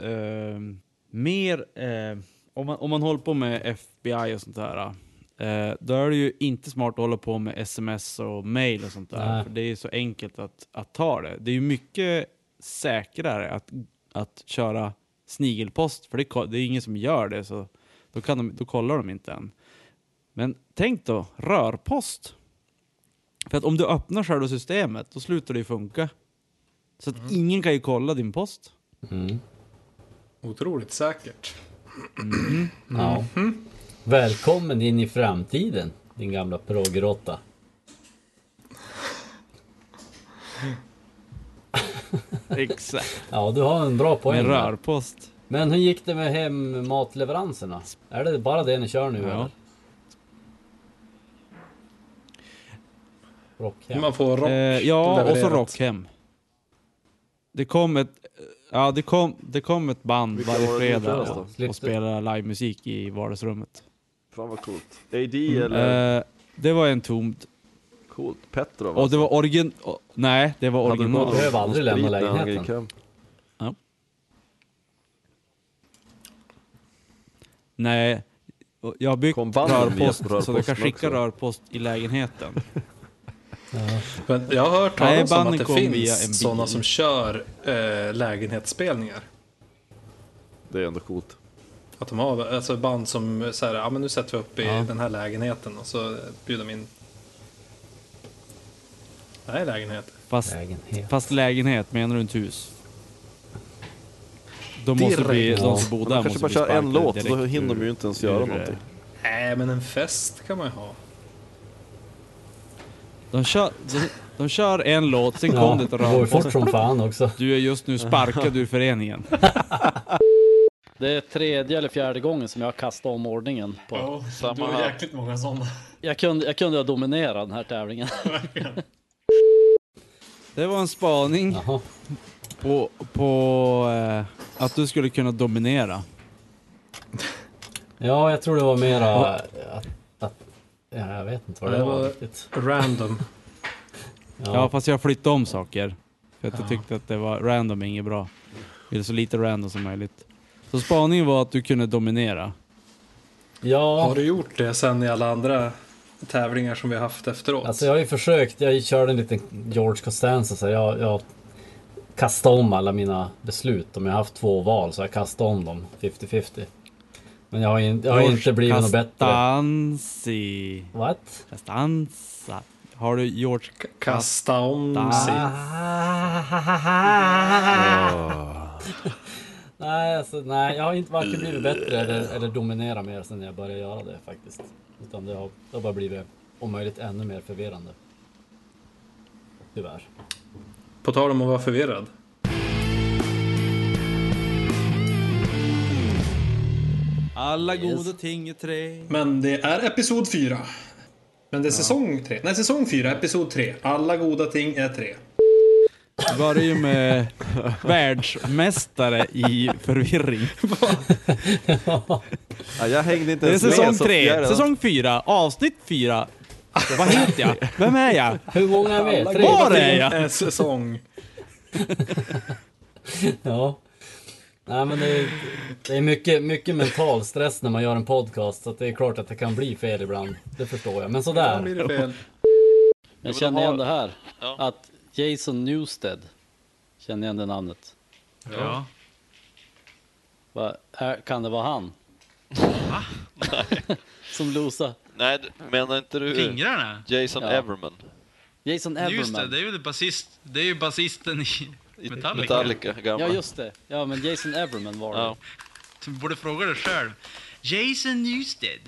A: ehm, mer... Eh, om, man, om man håller på med FBI och sånt där. Eh, då är det ju inte smart att hålla på med sms och mail och sånt där.
B: Nej.
A: För det är ju så enkelt att, att ta det. Det är ju mycket säkrare att, att köra snigelpost. För det, ko- det är ingen som gör det. Så då, kan de, då kollar de inte än. Men tänk då, rörpost. För att om du öppnar själva systemet, då slutar det ju funka. Så att ingen kan ju kolla din post.
D: Otroligt säkert.
B: Ja.
D: Mhm.
B: Välkommen in i framtiden, din gamla proggråtta.
A: Exakt.
B: Ja, du har en bra poäng.
A: Med
B: där.
A: rörpost.
B: Men hur gick det med hemmatleveranserna? Är det bara det ni kör nu eller?
A: Ja.
B: Rockhem?
D: Man får rock
A: Eh, ja, och så
D: levererat.
A: Rockhem. Det kom ett, ja, det kom, det kom ett band
C: Vilka
A: varje
C: var det som
A: fredag
C: kördes
A: och,
B: då?
A: och spelade livemusik i vardagsrummet.
C: Fan vad coolt. AD eller?
A: Eh, det var en tomt.
C: Coolt. Petrov alltså.
A: Och det var origin... och- Nej, det var
B: Du
A: original.
B: behöver aldrig lämna lägenheten.
C: lägenheten.
A: Nej. och Jag har byggt
C: Kom banden med
A: rörpost så du kan
C: rörposten
A: skicka
C: också?
A: rörpost i lägenheten.
D: Men jag har hört
A: Nej,
D: talas om
A: banden
D: att det
A: kom via en bil.
D: finns sådana som kör eh, lägenhetsspelningar.
C: Det är ändå coolt.
D: Att de har alltså band som så här, ja men nu sätter vi upp i den här lägenheten och så bjuder de in. Nej, lägenhet.
A: Fast,
B: Lägenhet.
A: fast lägenhet, menar du inte hus? De
D: Det
A: måste bli,
D: regnar.
A: de som bor där
C: Kanske
A: måste
C: bara
A: bli
C: köra en
A: sparkade
C: låt, så då
A: direkt
C: hinner
A: ur-
C: de ju inte ens
A: ur,
C: göra
A: eh,
C: någonting.
D: Nej, men en fest kan man ju ha.
A: De kör, de, de kör en låt, sen
B: Ja,
A: kom det ett
B: det går ju fort
A: rörpost.
B: som fan också.
A: Du är just nu sparkad ur föreningen.
H: Det är tredje eller fjärde gången som jag har kastat om ordningen. På.
E: Samma här.
D: jäkligt många sådana.
H: Jag, kunde, jag kunde ha dominerat den här tävlingen.
A: Det var en spaning
B: Jaha.
A: på, på eh, att du skulle kunna dominera.
B: Ja, jag tror det var mera att... att ja, jag vet inte vad det
D: Det
B: var
D: var-
B: riktigt.
D: Random.
A: Ja. fast jag flyttade om saker. För att jag tyckte att det var random är inget bra. Jag ville så lite random som möjligt. Så spaningen var att du kunde dominera.
B: Ja.
D: Har du gjort det sen i alla andra tävlingar som vi har haft efteråt?
B: Alltså jag har ju försökt, jag körde en liten George Costanza så jag, jag kastade om alla mina beslut. Om jag har haft två val så har jag kastade om dem 50-50. Men jag har, in, jag har inte blivit något bättre.
A: Castanzi.
B: What?
A: Castanza. Har du George
D: Castanzi?
B: Nej, alltså, nej, jag har inte varken blivit bättre eller, eller dominerat mer sen jag började göra det faktiskt. Utan det har, det har bara blivit om möjligt ännu mer förvirrande. Tyvärr.
D: På tal om att vara förvirrad.
A: Alla goda ting är tre.
D: Men det är episod fyra. Men det är säsong tre. Nej, säsong fyra, episod tre. Alla goda ting är tre.
A: Du börjar ju med världsmästare i förvirring.
C: Ja, jag hängde inte
A: Det är
C: ens med.
A: säsong
C: så jag är
A: tre,
C: redan-
A: säsong fyra, avsnitt fyra. Vad heter jag? Vem är jag?
B: Hur många är med? Tre?
A: Var är jag?
D: En Eh, säsong.
B: Ja. Nej, men det är, det är mycket, mycket mental stress när man gör en podcast så att det är klart att det kan bli fel ibland. Det förstår jag. Men
D: Ibland blir
B: sådär.
D: det fel.
K: Jag känner igen det här.
E: Ja.
K: Att Jason Newsted. Känner igen det namnet.
E: Ja.
K: Va, är, kan det vara han? Som losa.
E: Nej, du- menar inte du
K: Fingrarna?
E: Jason
K: Ja.
E: Everman?
K: Jason Everman.
E: Just det,
K: är ju basist, det är ju basisten i
E: Metallica. Metallica, gammal.
K: Ja, just det. Ja, men Jason Everman var det.
E: Ja.
K: Du borde fråga dig själv. Jason Newsted.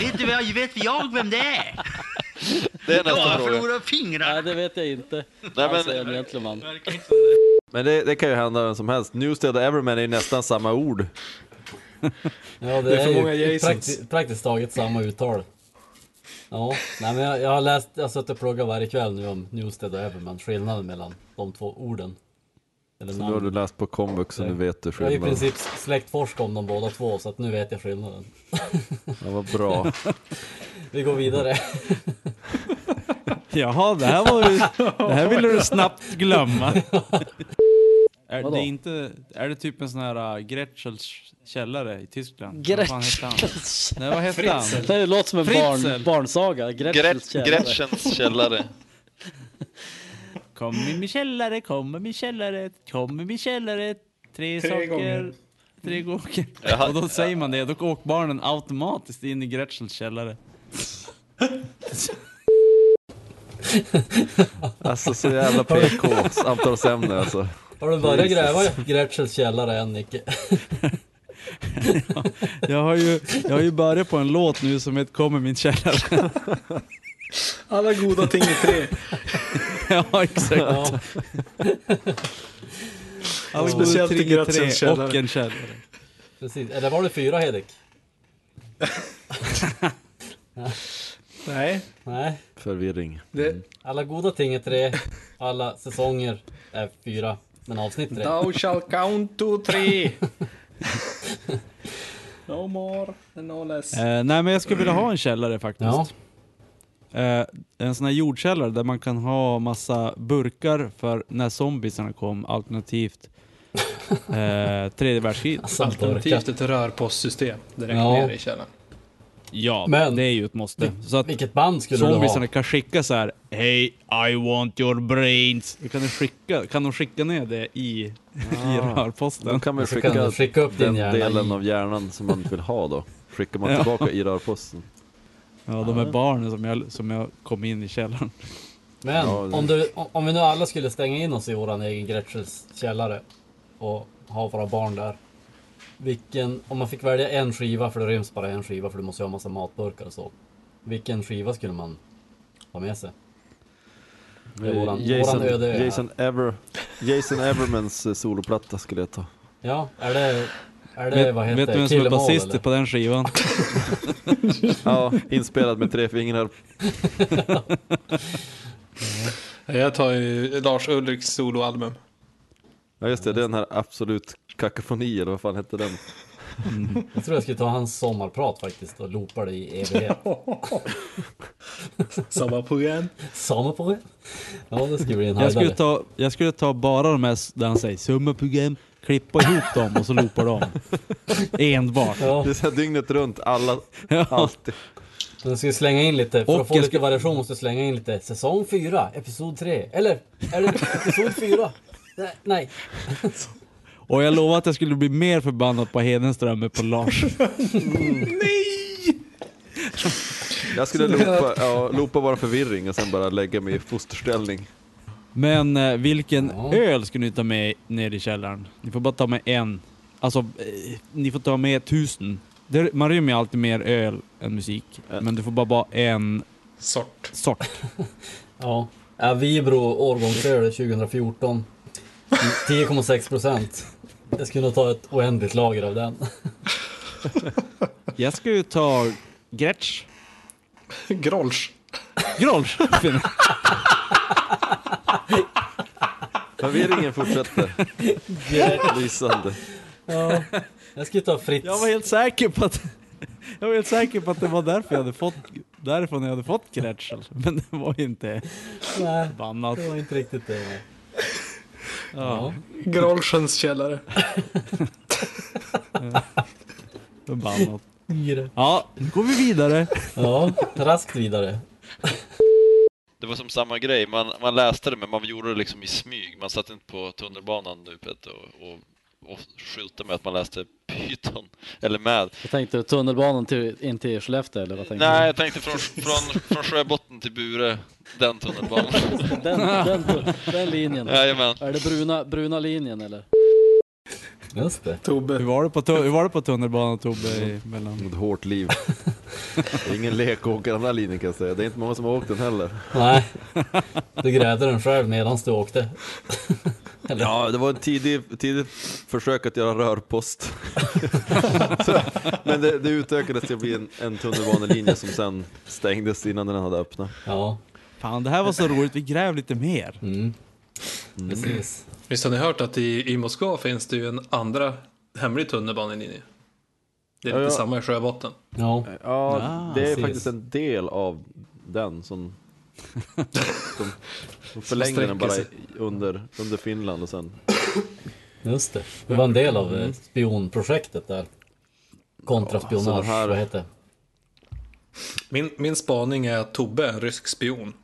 K: vet du vad, vet jag vem det är?
E: Det är nästa fråga.
K: fingrarna. Nej, det vet jag inte.
E: Nej,
K: Alltså,
E: men-
K: en gentleman.
C: Men det, det kan ju hända vem som helst. Newstead och Everman är ju nästan samma ord.
B: Ja, det,
C: Det är för
B: är,
C: många
B: ju
C: Jasons.
B: prakti- praktiskt taget samma uttal. Ja, nej, men jag, jag har läst, jag har suttit och pluggat varje kväll nu om Newsted och Everman, skillnaden mellan de två orden. Eller
C: Så nu har
B: namn.
C: du läst på komvux så nu vet du
B: Jag har i
C: skillnaden.
B: princip släktforskat om dem båda två så att nu vet jag skillnaden.
C: Ja, vad bra.
B: Vi går vidare.
A: Jaha, det här var ju... Det här ville du snabbt glömma. Är
K: Vadå?
A: det, inte, är det typ en sån här uh, Gretschels källare i Tyskland? Vad fan hette han?
K: Gretchens.
A: Nej, vad hette han?
K: Det låter som en barn,
A: Fritzl.
K: barnsaga. Gretchens
E: Gret-
K: källare.
E: Gretchens källare.
A: Kom i min källare, kom i min källare, kom i min källare. Tre,
D: Tre
A: saker.
D: gånger.
A: Tre gånger.
E: Jag hade-
A: Och då säger man det, då åker barnen automatiskt in i Gretchels källare.
C: Alltså så jävla PK samtalsämne alltså.
B: Har du börjat
C: Jesus.
B: gräva i Gretchels källare än Nicke?
A: Jag har ju, jag har ju börjat på en låt nu som heter Kom i min källare.
D: Alla goda ting är tre.
A: ja, exakt.
B: Ja.
A: Alla goda
D: Speciellt i
A: ting är
D: Gretchens
A: Alltså, tre
D: källare.
A: och en källare.
B: Precis. Eller var det fyra Hedek?
D: Nej,
B: Nej.
C: Förvirring.
D: det
B: Alla goda ting är tre. Alla säsonger är fyra. Men avsnitt tre.
D: Thou shall count to three. no more and no less.
A: Eh, nej, men jag skulle vilja ha en källare faktiskt.
B: Ja.
A: Eh, en sån här jordkällare där man kan ha massa burkar för när zombiesarna kom, alternativt eh, tredje världskriget.
B: Alltså,
D: Alternativt ett rörpostsystem direkt
B: Ja.
D: ner i källaren.
A: Ja,
B: Men-
A: det är ju ett måste. Så att
B: Vilket band skulle du ha?
A: zombiesarna kan skicka så här Hey, I want your brains. Då Kan de skicka, kan de skicka ner det i, i
C: Då
A: rörposten?
C: kan man
B: Så Ah. kan
C: skicka,
B: du skicka upp din
C: den
B: hjärna
C: delen
B: i-
C: av hjärnan som man vill ha då. Skickar man
A: Ja.
C: tillbaka i rörposten.
A: Ja, de är barnen som jag, som jag kom in i källaren.
B: Men
C: Ja, det-
B: om, du, om vi nu alla skulle stänga in oss i våran egen Gretchels källare och ha våra barn där. Vilken, om man fick välja en skiva, för det ryms bara en skiva för du måste ju ha massa matburkar och så. Vilken skiva skulle man ha med sig? Det är våran,
C: Jason,
B: våran öde ö här.
C: Jason, Ever, Jason Evermans eh, soloplatta skulle jag ta.
B: Ja, är det, är det
A: Vet,
B: Eh, vad
A: vet
B: heter
A: du vem
B: det?
A: som är
B: Kill 'em all,
A: basist
B: eller?
A: på den skivan?
C: Ja, inspelad med tre fingrar.
D: Jag tar ju Lars Ulriks soloalbum.
C: Ja just det, det är den här Absolut Kakafoni eller vad fan hette den?
B: Jag tror jag skulle ta hans sommarprat faktiskt och loopa det i evighet.
D: Samma program.
B: Samma program. Ja, det skulle bli en
A: Jag skulle,
B: höjdare.
A: ta, jag skulle ta bara de här s- där han säger summerprogram, klippa ihop dem och så loopar de. Enbart.
C: Det är så här dygnet runt, alla, allt.
B: Den ska slänga in lite, för
A: Och
B: att få
A: jag
B: lite
A: ska-
B: variation måste jag slänga in lite säsong 4, episod 3. Eller, eller episod 4. Nej, Nej.
A: Och jag lovade att jag skulle bli mer förbannad på Hedenström än på Lars.
C: Jag skulle loopa, ja, loopa bara förvirring och sen bara lägga mig i fosterställning.
A: Men eh, vilken öl ska ni ta med ner i källaren? Ni får bara ta med en. Alltså, eh, ni får ta med tusen. Det, man rymmer ju alltid mer öl än musik. Men du får bara bara en
D: sort.
A: sort.
B: Ja. ja Vibro årgångsöl 2014. 10,6 procent. Jag skulle nog ta ett oändligt lager av den.
A: Jag ska ju ta Gretsch.
D: Grolsch.
A: Grolsch!
C: Förvirringen fortsätter. Lysande.
B: Ja, jag skulle ta Fritz.
A: Jag var helt säker på att... Jag var helt säker på att det var därför jag hade fått, därifrån jag hade fått Gretschel. Men det var ju inte...
B: Nej,
A: Förbannat.
B: det var inte riktigt det. nej.
A: Ja.
D: Grolschens källare.
A: Förbannat.
B: Yngre.
A: Ja, nu går vi vidare.
B: Ja, raskt vidare.
E: Det var som samma grej, man, man läste det men man gjorde det liksom i smyg. Man satt inte på tunnelbanan nu Peter och, och, och skyltade med att man läste Python. Eller med.
L: Jag tänkte tunnelbanan till, in till Skellefteå eller vad tänkte
E: Nej,
L: du?
E: jag tänkte från, från, från Sjöbotten till Bure, den tunnelbanan.
L: Den, den, den linjen.
E: Jajamän.
L: Är det bruna, bruna linjen eller?
B: Just det.
D: Tobbe.
A: Hur var det på, tu- hur var det på tunnelbanan Tobbe? i- Mellan...
C: Ett hårt liv. Det är ingen lek att åka den här linjen kan jag säga. Det är inte många som har åkt den heller.
B: Nej, du grävde den själv medan du åkte.
C: Ja, det var ett tidigt, tidigt försök att göra rörpost. Så, men det, det utökades till att bli en, en tunnelbanelinje som sen stängdes innan den hade öppnat.
B: Ja.
A: Fan, det här var så roligt. Vi gräv lite mer.
D: Mm.
L: Mm.
B: Precis.
D: Visst har ni hört att i, i Moskva finns det ju en andra hemlig tunnelbanelinje? Det är
C: Ja,
D: lite
C: ja.
D: samma i Sjöbotten.
B: Ja,
C: ja
D: Ah,
C: det är
D: precis.
C: faktiskt en del av den som de, de förlängde
D: sträcker
C: den bara
D: sig.
C: i- under, under Finland och sen
B: Just det. Det var en del av eh,
C: Mm.
B: spionprojektet där.
D: Ja, så
L: Alltså,
B: Kontraspionage,
D: det här-
B: vad heter det?
D: Min, min spaning är att Tobbe är en rysk spion.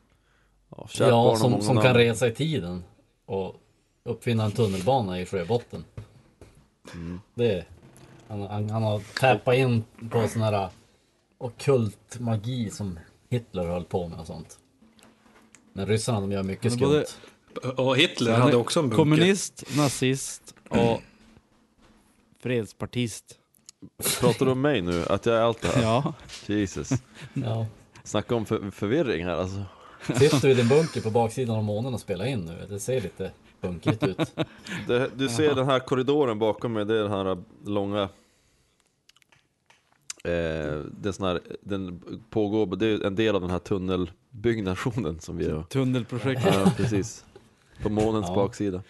B: Ja, som, som kan resa i tiden och uppfinna en tunnelbana i sjöbotten.
L: Mm.
B: Det är, han, han, han har täpat in på sån här ockult magi som Hitler höll på med och sånt. Men ryssarna de gör mycket
A: Han är både-
B: skumt.
D: Och Hitler
A: Han är
D: hade också en bunker.
A: Kommunist, nazist och fredspartist.
C: Pratar du om mig nu? Att jag är allt det här?
A: Ja.
C: Jesus.
B: Ja.
C: Snacka om för, förvirring här alltså.
B: Sitter du i din bunker på baksidan av månen och spelar in nu? Det ser lite bunkrigt ut.
C: Det, du ser den här korridoren bakom mig, det är den här långa Eh, det är sån här, den pågår, det är en del av den här tunnelbyggnationen som vi har.
A: Tunnelprojektet.
C: Ja, precis. På månens
L: Ja.
C: baksida.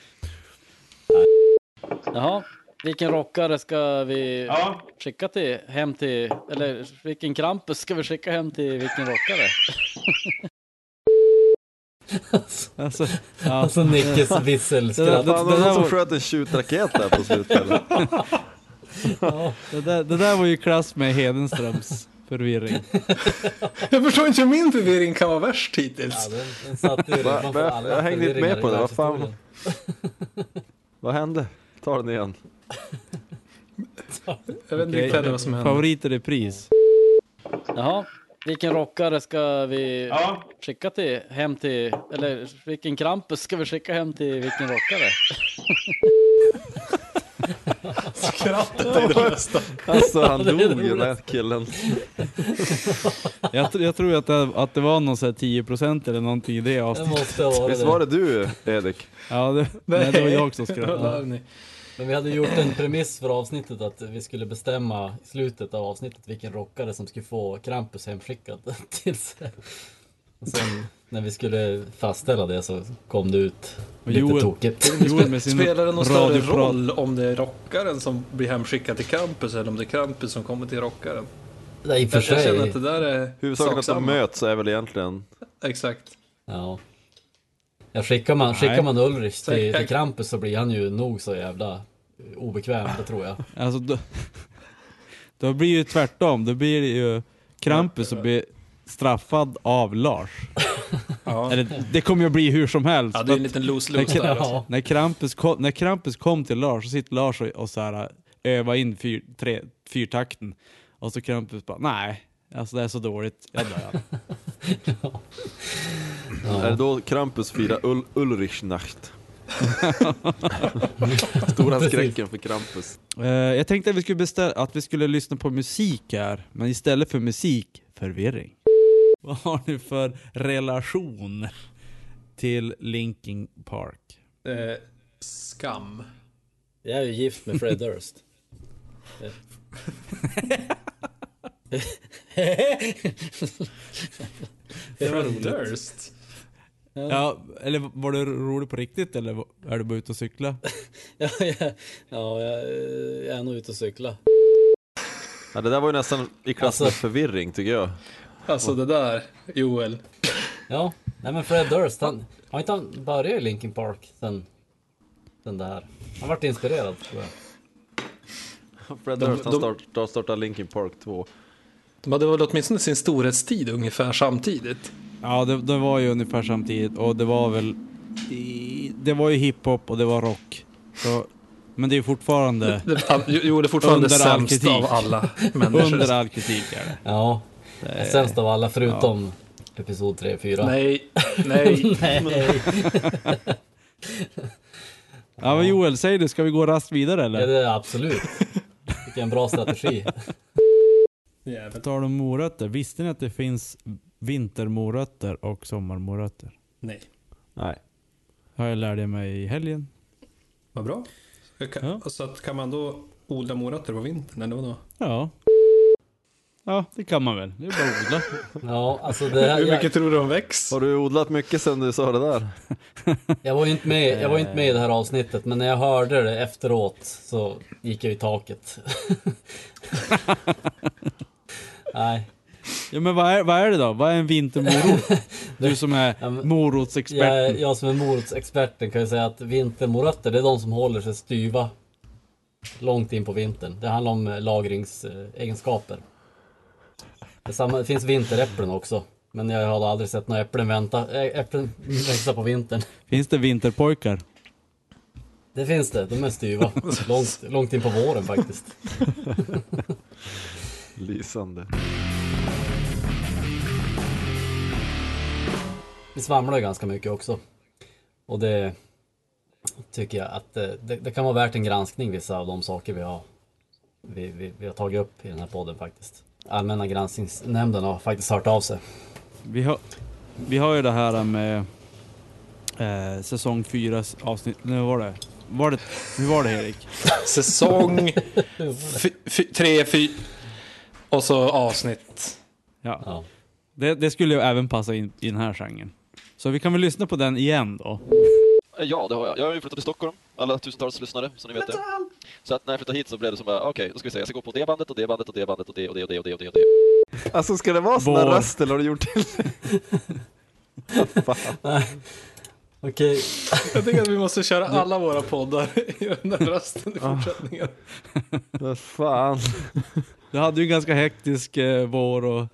L: Jaha, vilken rockare ska vi
G: Ja.
L: skicka till, hem till, eller vilken Krampus ska vi skicka hem till vilken rockare?
A: Alltså, ja.
B: Alltså Nickes visselskratt.
A: Det, där- det,
C: Fan, var
A: det,
C: det
A: där
C: någon som
A: var,
C: sköt en tjutraket där på slutet eller?
A: det, där, det där var ju klass med Hedenströms förvirring.
D: Jag förstår inte hur min förvirring kan vara värst hittills.
B: Ja, den, den satte ju
C: Va-
B: ribban för
C: va-
B: alla
C: jag hängde inte
B: förvirringar
C: med på
B: i
C: det, vad fan?
B: världshistorien.
C: Vad hände? Ta den igen.
D: Jag vet inte riktigt heller vad som hände.
A: Favorit i repris.
L: Jaha, vilken rockare ska vi
G: Ja.
L: skicka till, hem till, eller vilken Krampus ska vi skicka hem till vilken rockare?
D: Skrattet är det bästa.
C: Alltså han
A: Det är
C: dog
A: det
C: den där killen.
A: Jag, tr- jag tror att det, att det var någon så här 10% eller någonting i det avsnittet.
B: måste ha varit
C: Visst var det du Erik?
A: Ja, det, nej, det var jag som skrattade.
D: skrattade.
B: Men vi hade gjort en premiss för avsnittet att vi skulle bestämma i slutet av avsnittet vilken rockare som skulle få Krampus hemskickad till sig. Och sen när vi skulle fastställa det så kom det ut
A: Och
B: lite
A: Joel-
B: tokigt.
D: Spelar det någon större roll om det är rockaren som blir hemskickad till campus eller om det är campus som kommer till rockaren?
B: Nej, i och för
D: jag, jag känner
B: sig.
D: att det där är
C: Huvudsaken att de
D: saksamma.
C: möts är väl egentligen...
D: Exakt.
B: Ja. Ja, skickar man,
C: Nej.
B: skickar man Ulrich
D: Så jag-
B: till, till Krampus så blir han ju nog så jävla eh, obekväm, det tror jag.
A: Alltså, då, då blir ju tvärtom. Då blir det ju Krampus som blir straffad av Lars. Eller, det kommer ju att bli hur som helst.
D: Ja, det är en
A: För att
D: liten loose-loose
A: när,
D: där, alltså.
A: när, Krampus kom, när Krampus kom till Lars så sitter Lars och, och så här, övar in fyr, tre, fyrtakten. Och så Krampus bara, nej, alltså det är så dåligt, jag dör.
C: Är det då Krampus firar Ul Ulrichnacht? Stora
A: Precis.
C: skräcken för Krampus.
A: Eh, jag tänkte att vi, skulle beställa, att vi skulle lyssna på musik här, men istället för musik, förvirring. Vad har ni för relation till Linkin Park?
D: Eh, skam.
B: Jag är ju gift med Fred Durst.
D: Det var roligt. Durst?
A: Ja, eller var du rolig på riktigt eller var- är du bara ute och cykla?
B: ja, jag, ja, jag, eh, jag är nog ute och cykla.
C: Ja, det där var ju nästan i klass med
B: Alltså-
C: förvirring tycker jag.
D: Alltså det där, Joel.
B: Ja, nej men Fred Durst, han, har inte han börjat i Linkin Park sen, sen det här? Han vart inspirerad tror jag.
C: Fred
D: De-
C: Durst, han
D: de-
C: startade, startade Linkin Park 2.
D: De hade väl åtminstone sin storhetstid ungefär samtidigt.
A: Ja, det, det var ju ungefär samtidigt och det var väl... i- Det var ju hiphop och det var rock. Så, men det är ju fortfarande...
D: Det- det- jo, det är fortfarande sämst av alla människor.
A: Under all kritik är det.
B: Ja,
A: Det-
B: sämst av alla förutom episod 3 4.
D: Nej, nej.
B: nej.
A: Ja, men Joel, säg du, ska vi gå rast vidare eller?
B: Ja, det är absolut. Vilken bra strategi.
A: På tal om morötter, visste ni att det finns vintermorötter och sommarmorötter?
D: Nej.
C: Nej.
A: Har jag lärde mig i helgen.
D: Vad bra. Jag Kan, alltså, att kan man då odla morötter på vintern eller vadå?
A: Ja. Ja, det kan man väl. Det är bara att odla.
B: Ja, alltså det,
D: Hur mycket
B: jag,
D: tror du de väcks?
C: Har du odlat mycket sen du sa det där?
B: jag, var ju inte med, jag var ju inte med i det här avsnittet, men när jag hörde det efteråt så gick jag i taket. Nej.
A: Ja, men vad är, vad är det då? Vad är en vintermorot? Du som är
B: Jag,
A: morotsexperten.
B: jag som är morotsexperten kan ju säga att vintermorötter, det är de som håller sig styva långt in på vintern. Det handlar om eh, lagringsegenskaper. Det, är samma, det finns vinteräpplen också, men jag har aldrig sett några äpplen, vänta, ä- äpplen växa på vintern.
A: Finns det vinterpojkar?
B: Det finns det, de är styva. Långt, långt in på våren faktiskt.
C: Lysande.
B: Vi svamlar ju ganska mycket också. Och det tycker jag att eh, det, det kan vara värt en granskning vissa av de saker vi har, vi, vi, vi har tagit upp i den här podden faktiskt. Allmänna granskningsnämnden har faktiskt hört av sig.
A: Vi har, vi har ju det här med eh, säsong 4 avsnitt. Nu var det. Var det, hur var det Erik?
D: Säsong fy- fy- tre, fy... Och så avsnitt.
A: Ja. Det, det skulle ju även passa in i den här genren. Så vi kan väl lyssna på den igen då.
E: Eh, Ja, det har jag. Jag har ju flyttat till Stockholm, alla tusentals lyssnare, så ni vet det. Så att när jag flyttade hit så blev det som bara, okej, då ska vi se, jag ska gå på det bandet och det bandet och det bandet och det och det och det och det och det. Och det.
C: Alltså ska det vara sån här
E: Vår.
C: rast eller har du gjort till
B: Nej. Okej.
D: Jag tycker att vi måste köra alla våra poddar i den där rasten i
C: Ja.
D: fortsättningen.
C: Vad fan.
A: Du hade ju en ganska hektisk eh, vår och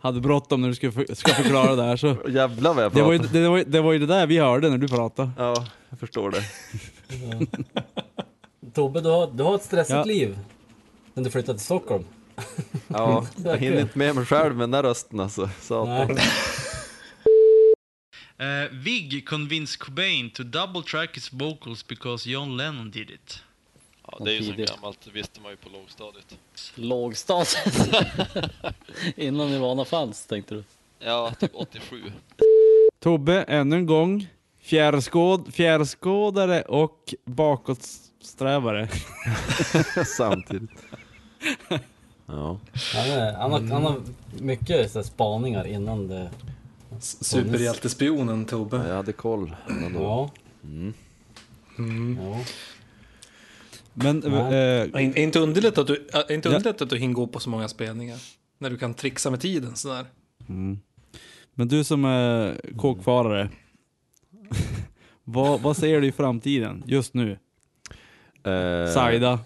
A: hade bråttom när du skulle för, ska förklara det här. Så
C: Jävlar vad jag
A: det, var ju,
C: pratar.
A: det, var, ju- det var ju det där vi hörde när du pratade.
C: Ja, jag förstår det.
B: Tobbe, du har, du har ett stressigt
A: Ja.
B: liv sen du flyttade till Stockholm.
C: Ja, jag
B: Verkligen.
C: hinner inte med mig själv med den där rösten alltså. Satan.
K: Uh, Vig convinced Cobain to double track his vocals because John Lennon did it.
E: Ja, det är ju
L: Tidigt.
E: så gammalt, visste man ju på lågstadiet.
L: Lågstadiet. Innan Nirvana fanns tänkte du.
E: Ja, typ 87.
A: Tobbe, ännu en gång. Fjärrskåd, fjärrskådare och bakåtsträvare.
C: Samtidigt. Ja.
B: Han, är, han, har, han har mycket så här, spaningar innan det
D: Superhjältespionen Tobbe.
C: Jag hade koll.
B: Ja.
C: Mm.
D: Mm.
A: Men, eh,
D: Ja, in- inte underligt, att du, äh, inte
A: Ja.
D: underligt att du hinner gå på så många spelningar. När du kan trixa med tiden sådär.
A: Mm. Men du som är kåkfarare, vad, vad ser du i framtiden just nu?
C: Eh,
A: Saida.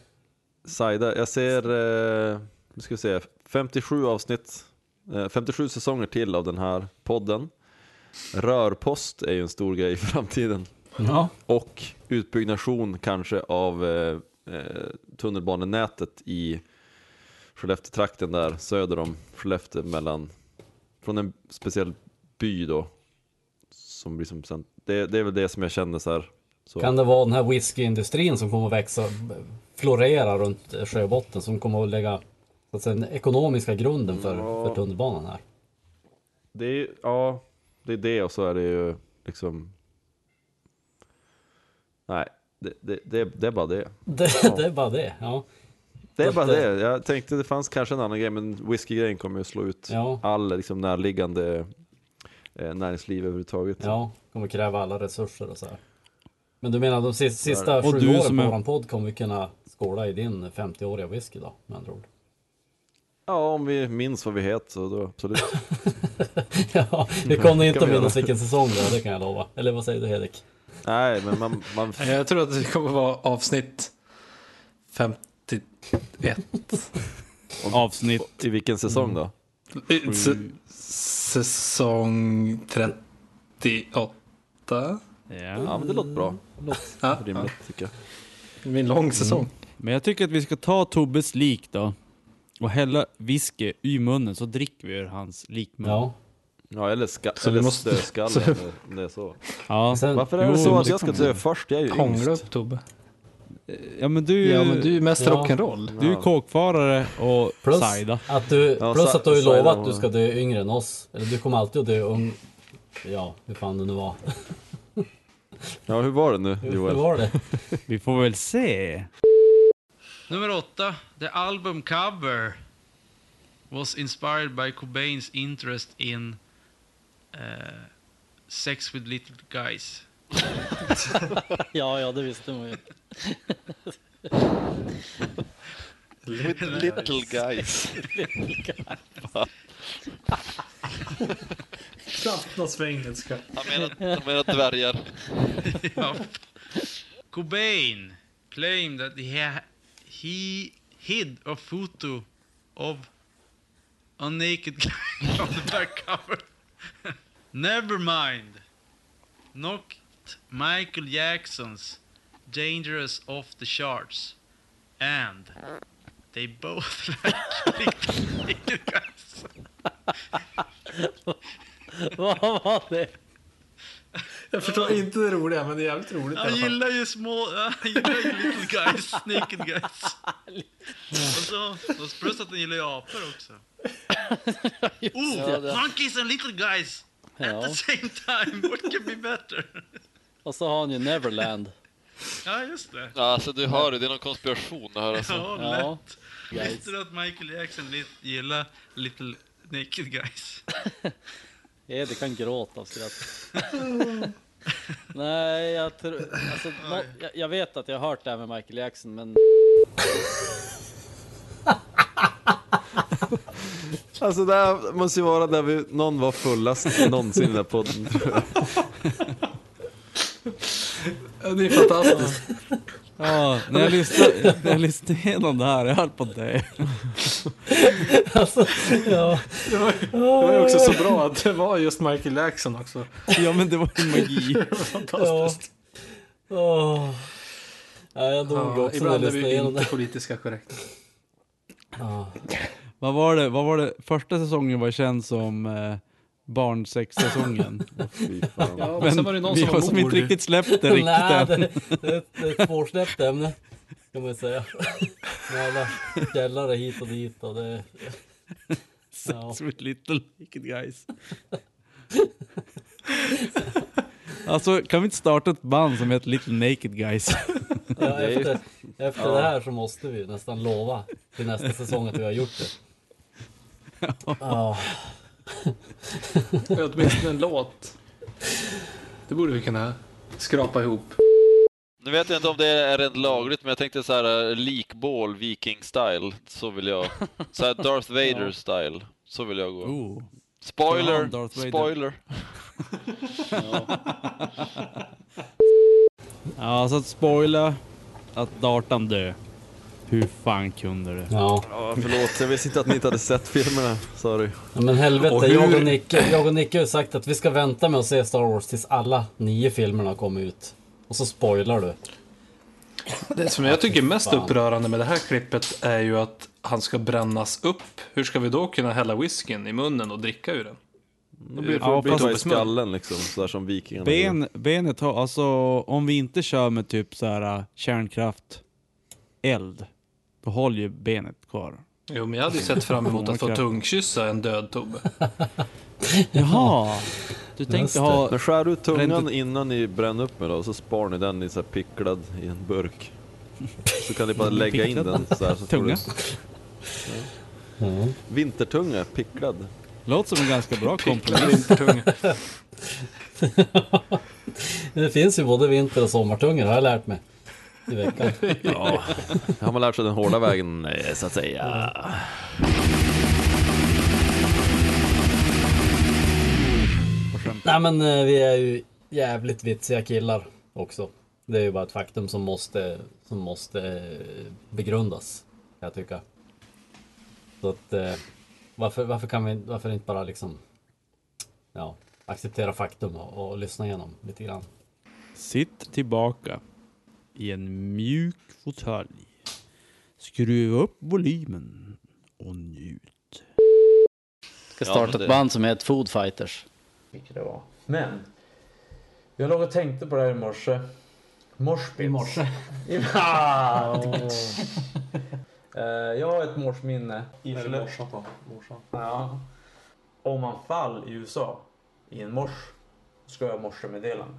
C: Saida, jag ser, eh, nu ska vi se, 57 avsnitt, eh, 57 säsonger till av den här podden. Rörpost är ju en stor grej i framtiden.
B: Ja.
C: Och utbyggnation kanske av eh, eh, tunnelbanenätet i Skellefteå-trakten där, söder om Skellefteå, mellan, från en speciell by då. Som blir som cent- det, det är väl det som jag känner så här. Så.
B: Kan det vara den här whiskyindustrin som kommer att växa, florera runt sjöbotten som kommer att lägga så att säga, den ekonomiska grunden för,
C: Ja.
B: för tunnelbanan här?
C: Det är, ju- ja, det är det och så är det ju liksom... Nej, det, det, det, det är bara det.
B: Det, det är bara det. Ja.
C: Det är
B: Så
C: bara
B: att,
C: det. Jag tänkte det fanns kanske en annan grej, men whiskygrejen kommer ju slå ut all liksom, närliggande eh, näringsliv överhuvudtaget.
B: Ja, kommer kräva alla resurser och så här. Men du menar de sista, sista
C: Och
B: sju
C: du
B: åren
C: som
B: på
C: är-
B: våran podd kommer vi kunna skåla i din 50-åriga whisky då med andra ord.
C: Ja, om vi minns vad vi heter så då absolut.
B: ja, Vi kommer inte
C: Mm. Kan
B: att
C: vi
B: minnas
C: göra.
B: vilken säsong det är, det kan jag lova. Eller vad säger du Hedek?
C: Nej, men man... man...
D: Jag tror att det kommer vara avsnitt eh, 51.
A: Avsnitt.
C: I vilken säsong då?
A: Mm.
D: I sä- Säsong 38. Ja,
C: Ja, men det låter bra.
D: Ja,
C: Rimligt tycker jag.
D: Ah, Det blir en lång säsong.
A: Mm. Men jag tycker att vi ska ta Tobbes lik då och hälla whisky i munnen så dricker vi ur hans
C: Mm.
A: likmun.
B: Ja.
C: Ja, eller, ska,
A: Så vi
C: eller
A: måste-
C: dödskallen
A: så-
C: om det är så.
A: Ja. Sen-
C: Varför är
A: Jo, liksom
C: det så att
A: måste-
C: jag ska dö först? Jag är ju
D: Hångla
C: yngst.
D: upp Tobbe.
A: Ja men du,
D: Ja, men du är ju mest Ja. rock'n'roll.
A: Du är ju kåkfarare och
B: Plus
A: Saida.
B: att du, plus
A: Sa-
B: att du har ju
A: Saida
B: lovat att
A: var-
B: du ska dö yngre än oss. Eller du kommer alltid att dö ung. Ja, hur fan det nu var.
C: Ja, hur var det nu
B: Hur- hur
C: Joel?
B: var det?
A: Vi får väl se.
K: Nummer åtta, the album cover was inspired by Cobains interest in eh, sex with little guys.
L: Ja, ja, det visste man ju.
E: Little, little guys.
L: Little
E: Va?
D: Knappt något svengelska.
E: Han menar, han menar dvärgar.
K: Ja. Cobain claimed that he, ha- he hid a photo of a naked guy on the back cover. Never mind. Knocked Michael Jackson's Dangerous off the charts. And they both like naked guys.
L: Vad var det?
D: Jag förstår inte det roliga, men det är jävligt roligt. i alla
K: Jag
D: fall.
K: gillar ju små, jag gillar ju little guys, naked guys. Och så, och så plus att den gillar ju apor också.
L: Ja,
K: Oh,
L: det-
K: monkeys and little guys at
L: Ja.
K: the same time, what can be better?
L: Och så har han ju Neverland.
K: Ja, just det.
E: Ja, alltså du hör det, det är någon konspiration här alltså.
K: Ja, lätt. Visste du att Michael Jackson li- gillar little naked guys?
L: Ja, det kan gråta av skratt. Nej, jag tror... Alltså, nå, jag, jag vet att jag har hört det här med Michael Jackson, men...
C: Alltså det här måste ju vara där vi, någon var fullast någonsin i den här podden.
D: Ja, Det är fantastiskt.
A: Ja, när jag lyssnade, när jag lyssnade igenom det här, jag höll på att dö.
B: Alltså, ja.
D: Det var, det var ju också så bra att det var just Michael Jackson också.
A: Ja men det var ju magi.
D: Det var fantastiskt.
B: Åh. Ja, jag dog också när jag
D: ibland är vi
B: lyssnade
D: ju
B: igenom
D: inte
B: det.
D: politiska korrekta.
A: Vad var det? Vad var det? Första säsongen var känd som eh, barnsexsäsongen.
D: Ja, men
A: men
D: sen var det någon
A: vi
D: som var
A: har som
D: mord.
A: inte riktigt släppt det riktigt
B: Nej,
A: än.
B: det, det, det är ett svårsläppt ämne. Kan man ju säga. Med alla källare hit och dit och det... Ja.
A: Sex with little naked guys. Alltså kan vi inte starta ett band som heter Little Naked Guys?
B: Ja, efter efter det här så måste vi nästan lova till nästa säsong att vi har gjort det. Ja.
D: Åtminstone en låt. Det borde vi kunna skrapa ihop.
E: Nu vet jag inte om det är rent lagligt, men jag tänkte så här eh, likbål viking style. Så vill jag. Så här Darth Vader style. Så vill jag gå.
A: Ooh.
E: Spoiler!
A: Ja, Darth Vader.
E: Spoiler!
A: Ja, så att spoila att Dartan dö. Hur fan kunde du?
B: Ja.
C: förlåt, jag visste inte att ni inte hade sett filmerna. Sorry.
B: Ja, men helvete,
C: Och hur-
B: jag och, Nicke, jag och Nicke har ju sagt att vi ska vänta med att se Star Wars tills alla nio filmerna har kommit ut. Och så spoilar du.
D: Det som jag tycker är mest
B: Fan.
D: upprörande med det här klippet är ju att han ska brännas upp. Hur ska vi då kunna hälla whiskyn i munnen och dricka ur den? Då blir det
A: Ja,
D: blir det
A: fast-
C: Dra i
D: tobbesmull.
C: skallen liksom, sådär som vikingarna gjorde.
A: Ben, benet har, alltså om vi inte kör med typ så här äh, kärnkraft, eld, då håller ju benet kvar.
D: Jo, men jag hade ju sett fram emot att få tungkyssa en död Tobbe.
A: Jaha, du
D: Just
A: tänkte
D: det.
A: ha...
C: Men skär ut tungan
A: bränt-
C: innan ni bränner upp med då, så spar ni den i så här picklad i en burk. Så kan ni bara lägga in den så här. Så får
A: Tunga.
C: Du... Ja. Vintertunga, picklad.
A: Låter som en ganska bra
D: Typ.
A: kompromiss.
D: Vintertunga.
B: Det finns ju både vinter och sommartungor har jag lärt mig. I veckan.
C: Ja, har man lärt sig den hårda vägen eh, så att säga.
B: Nej men eh, vi är ju jävligt vitsiga killar också. Det är ju bara ett faktum som måste, som måste eh, begrundas. kan Jag tycker. Så att eh, varför, varför kan vi varför inte bara liksom ja, acceptera faktum och, och lyssna igenom lite grann.
A: Sitt tillbaka i en mjuk fåtölj. Skruva upp volymen och njut.
L: Ska
A: Ja,
L: starta
A: men
L: ett
A: det-
L: band som heter Food Fighters.
I: Vilket det var. Men. Jag låg och tänkte på det här i morse. Morsbits. I morse. ah, Eh, jag har ett morsminne.
J: Är det morsan
I: på? Ja. Om man fall i USA i en mors ska jag ha morsemeddelande.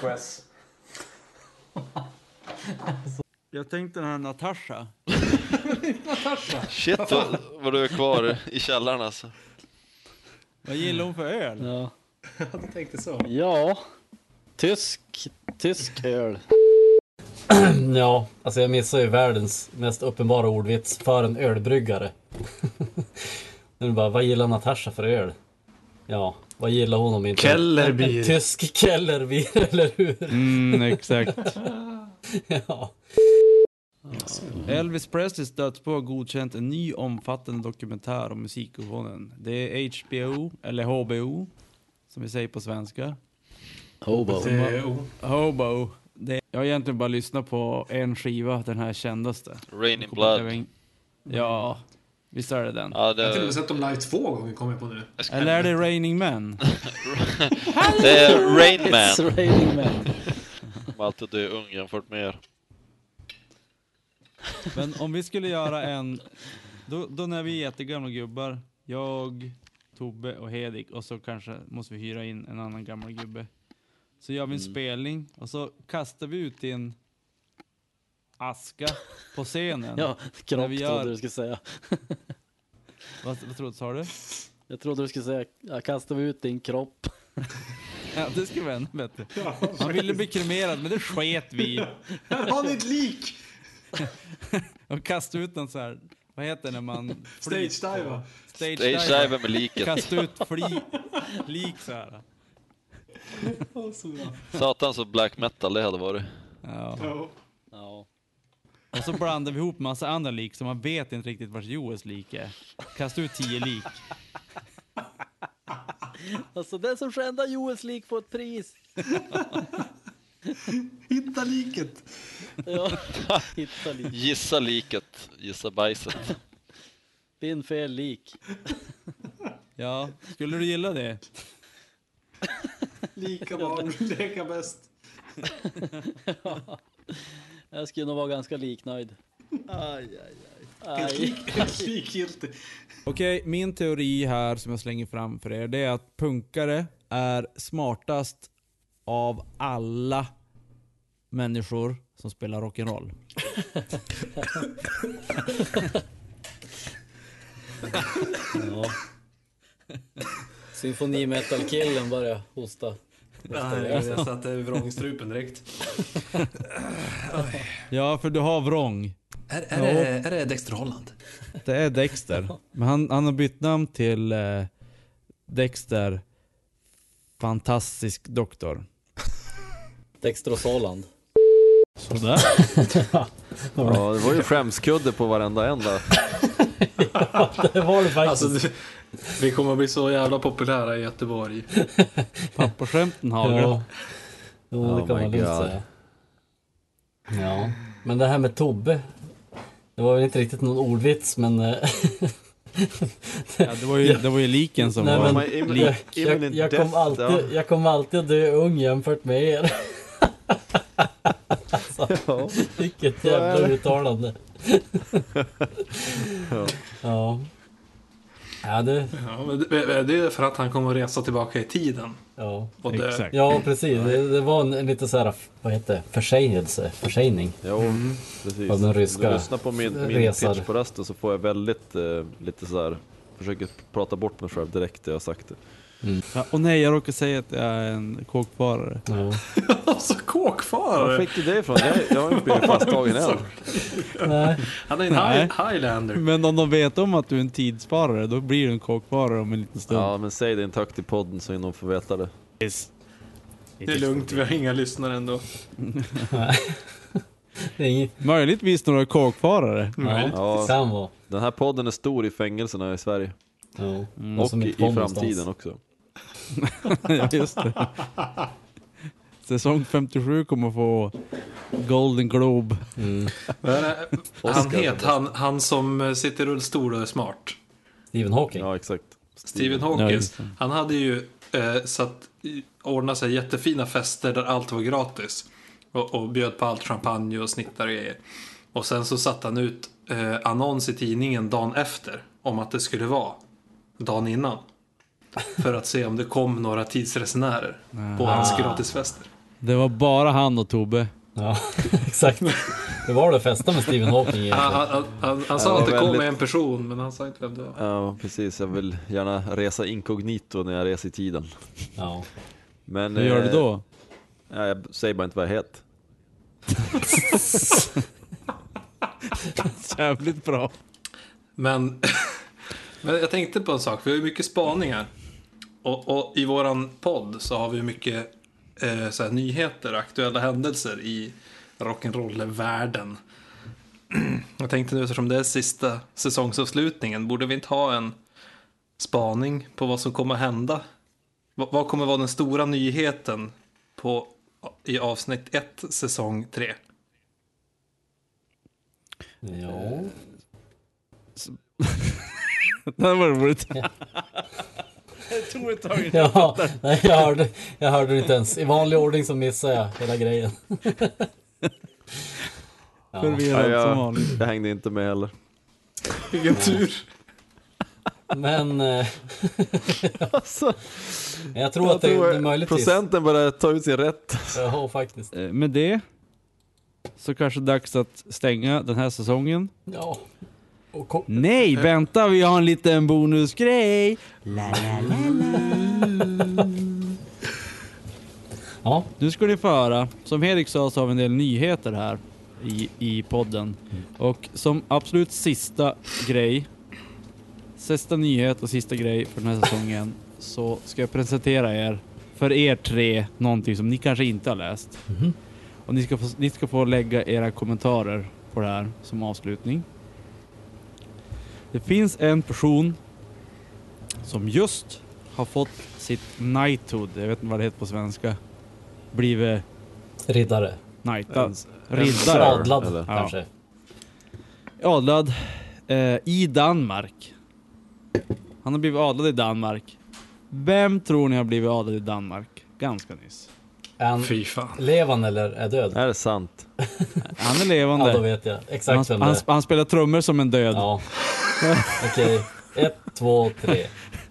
I: SOS.
A: Jag tänkte den här Natasha.
D: Natasha?
E: Shit vad, vad du är kvar i källaren alltså.
A: Vad gillar hon för öl?
L: Ja.
D: Jag tänkte så.
L: Ja. Tysk, tysk öl.
B: ja, alltså jag missar ju världens mest uppenbara ordvits för en ölbryggare. Nu är det bara, vad gillar Natasha för öl? Ja, vad gillar hon om inte...
D: Kellerbier.
B: En Tysk kellerbier, eller hur?
A: Mm, exakt.
B: ja.
A: Elvis Presleys dödsbo har godkänt en ny omfattande dokumentär om musikikonen. Det är HBO, eller HBO, som vi säger på svenska.
L: Hobo.
A: Som har-
L: Det-
A: Hobo. Det, jag har egentligen bara lyssnat på en skiva, den här kändaste.
E: Rain in
A: Jag kommer inte
E: Blood.
A: ihåg- Ja, visst är det den?
D: Jag har till och med sett dem live två gånger kommer jag på nu.
A: Eller är det Raining Men?
E: Det är Rain Man.
L: It's Raining Man.
E: De är alltid dö ung jämfört med er.
A: Men om vi skulle göra en... Då, då när vi är jättegamla gubbar, jag, Tobbe och Hedik och så kanske måste vi hyra in en annan gammal gubbe. Så gör vi en spelning och så kastar vi ut i en aska på scenen.
L: Ja,
A: När
L: kropp
A: vi
L: trodde du
A: gör,
L: skulle säga.
A: vad, vad trodde sa du?
L: Jag trodde du skulle säga, jag kastar ut din kropp.
A: Ja, det skulle vara ännu bättre. Man ville bli kremerad, men det sket vi i.
D: Här har ni ett lik!
A: Och kasta ut den så här. Vad heter det när man... flyr
D: Stage dive,
A: på-
D: va?
A: Stage
E: Stage
A: dive.
E: dive med liket.
A: Kasta ut fli, lik så här.
E: Satan så black metal det hade varit.
A: Ja.
L: Ja.
A: Och så blandar vi ihop massa andra lik så man vet inte riktigt vars Joels lik är. Kasta ut tio lik.
L: Alltså den som skändar Joels lik får ett pris.
D: Hitta liket!
L: Ja, hitta lik.
E: Gissa liket, gissa bajset.
L: Finn fel lik.
A: Ja, skulle du gilla det?
D: Lika barn, leka bäst.
L: Ja. Jag skulle nog vara ganska liknöjd.
D: Aj, aj,
L: aj.
D: Helt, lik, helt likgiltig.
A: Okej, min teori här som jag slänger fram för er, det är att punkare är smartast av alla människor som spelar rock'n'roll.
L: Ja.
M: Symfoni metal-killen börjar hosta.
D: Nej, jag satte vrångstrupen direkt.
A: Ja, för du har vrång.
D: Är, är, det, är det Dexter Holland?
A: Det är Dexter. Men han, han har bytt namn till eh, Dexter Fantastisk Doktor.
M: Dexter och Soland.
A: Sådär.
C: Ja, det var ju skämskudde på varenda en där.
M: det var det faktiskt.
D: Alltså, du, vi kommer att bli så jävla populära i Göteborg.
A: Pappaskämten
B: Jo,
D: Ja.
B: det
D: Oh
B: kan man
D: my
B: lugnt
D: God.
B: säga. Ja, men det här med Tobbe. Det var väl inte riktigt någon ordvits, men... eh,
A: det, var ju, det var ju liken som var...
B: jag, jag, jag, kom alltid, jag kom alltid att dö ung jämfört med er. alltså, Vilket
M: Så är
B: jävla
M: det.
B: uttalande.
C: Ja.
B: ja. Ja, det...
D: Ja, men det, det är för att han kommer att resa tillbaka i tiden.
B: Ja,
D: och dö.
B: ja precis. Det, det var en, en lite så här, vad heter det, försägelse, försägning.
C: Jo, precis.
B: Av den
C: Om
B: ryska
C: du lyssnar på min, min
B: resar.
C: pitch på rösten så får jag väldigt eh, lite så här. Försöker prata bort mig själv direkt när jag har sagt det.
A: Ja, och nej, jag råkar säga att jag är en kåkfarare.
D: alltså kåkfarare?
C: Var fick du det ifrån? Jag, jag har inte blivit fastslagen än.
B: Nej.
D: Han är en
A: Nej.
D: high, highlander.
A: Men om de vet om att du är en tidssparare, då blir du en kåkfarare om en liten stund.
C: Ja, men säg det inte högt i podden så någon får veta det.
D: Det är lugnt, vi har inga lyssnare ändå.
A: Möjligtvis några kåkfarare.
C: Den här podden är stor i fängelserna i Sverige.
A: Mm,
C: och
A: som
C: i,
A: ett
C: i
A: tvång
C: framtiden
A: någonstans.
C: också.
A: ja, just det. Säsong 57 kommer få Golden Globe.
D: Men, eh, han heter han, han som eh, sitter i rullstol och är smart.
B: Stephen Hawking.
C: Ja, exakt.
D: Stephen
B: Ja,
D: Hawkins.
B: just det.
D: han hade ju eh, satt, ordnat sig jättefina fester där allt var gratis. Och, och bjöd på allt champagne och snittar och grejer. Och sen så satte han ut eh, annons i tidningen dagen efter. Om att det skulle vara dagen innan. För att se om det kom några tidsresenärer på
A: Ah.
D: hans gratisfester.
A: Det var bara han och Tobbe.
B: Ja, exakt. Det var det festa med Stephen Hawking
D: Han,
B: egentligen.
D: han, han, han,
C: Ja,
D: han
C: det
D: sa att
C: var
D: det kom
C: väldigt-
D: en person men han sa inte vem det var.
C: Ja, precis. Jag vill gärna resa inkognito när jag reser i tiden.
B: Ja.
C: Men, eh,
A: Hur gör du då?
C: Ja, jag säger bara inte vad jag heter.
A: Jävligt bra.
D: Men, men jag tänkte på en sak. Vi har ju mycket spaningar. Och, och i våran podd så har vi mycket eh, så här, nyheter, aktuella händelser i rock'n'roll-världen. Jag tänkte nu eftersom det är sista säsongsavslutningen, borde vi inte ha en spaning på vad som kommer hända? Vad, vad kommer vara den stora nyheten på, i avsnitt 1, säsong 3?
B: Ja.
A: Det här var roligt.
N: Jag tog ett tag
B: Ja, nej, jag, hörde, jag hörde det inte ens. I vanlig ordning så missade jag hela grejen. Ja.
C: Ja, jag, jag hängde inte med heller.
D: Vilken tur.
B: Men... eh, Men jag tror
C: Alltså. Jag
B: att det,
C: tror
B: det är möjligtvis...
C: Procenten börjar ta ut sin rätt.
B: Ja, faktiskt.
A: Eh, Med det så kanske det är dags att stänga den här säsongen.
B: Ja.
A: Nej, vänta, vi har en liten bonusgrej!
B: Ja.
A: Nu ska ni få höra. Som Henrik sa så har vi en del nyheter här i, i podden. Och som absolut sista grej, sista nyhet och sista grej för den här säsongen så ska jag presentera er, för er tre, någonting som ni kanske inte har läst. Och ni ska, få, ni ska få lägga era kommentarer på det här som avslutning. Det finns en person som just har fått sitt knighthood, jag vet inte vad det heter på svenska, blivit
B: Riddare.
A: knightad.
B: En-
A: Riddare.
B: en adlad, eller?
A: Ja.
B: kanske.
A: Adlad eh, i Danmark. Han har blivit adlad i Danmark. Vem tror ni har blivit adlad i Danmark ganska nyss?
B: En
D: Fy fan.
B: Levande eller är död?
C: Är det sant?
A: Han är levande.
B: Ja, då vet jag exakt
A: han,
B: vem det
A: han,
B: är.
A: han spelar trummor som en död.
B: Ja. Okej, ett, två, tre.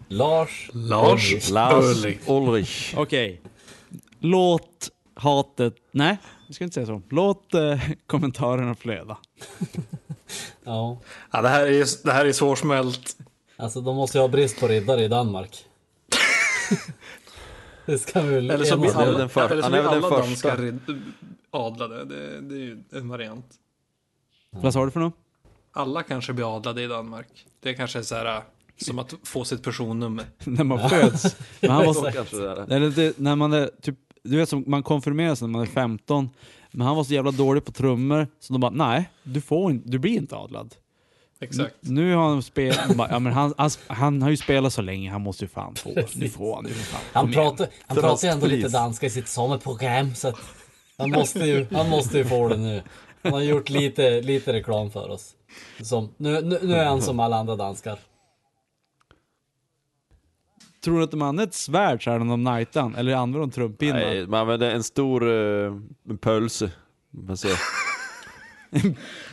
B: Lars. Ulrich.
C: Ulrich.
A: Okej. Låt hatet... Nej, jag ska inte säga så. Låt eh,
B: Mm.
A: kommentarerna flöda.
B: Ja.
D: det här är, det här är svårsmält.
B: Alltså de måste ju ha brist på riddare i Danmark. det ska vi väl
D: Eller så blir
B: enas om.
D: alla, eller så blir alla danskar rid- adlade. Det, det är ju en variant.
A: Vad sa du för något?
D: Alla kanske blir adlade i Danmark. Det kanske är så här äh, som att få sitt personnummer.
A: när man föds. Men han var så, eller det, när man är typ, du vet som man konfirmeras när man är 15, men han var så jävla dålig på trummor så de bara nej, du, får, in- du blir inte adlad.
D: Exakt.
A: Nu, nu har han spelat, ja, men han, han, han har ju spelat så länge, han måste ju fan få. Nu får han ju för fan.
B: Han
A: Kom igen.
B: pratar, han pratar ju ändå lite danska i sitt sameprogram så att han måste ju, han måste ju få det nu. Han har gjort lite, lite reklam för oss. Som, nu, nu, nu är han som alla andra danskar.
A: Tror du att de använder ett svärd så här när de knightar han? Eller använder de trumpinnar?
C: Nej, man använder en stor uh, pölse. Man säger.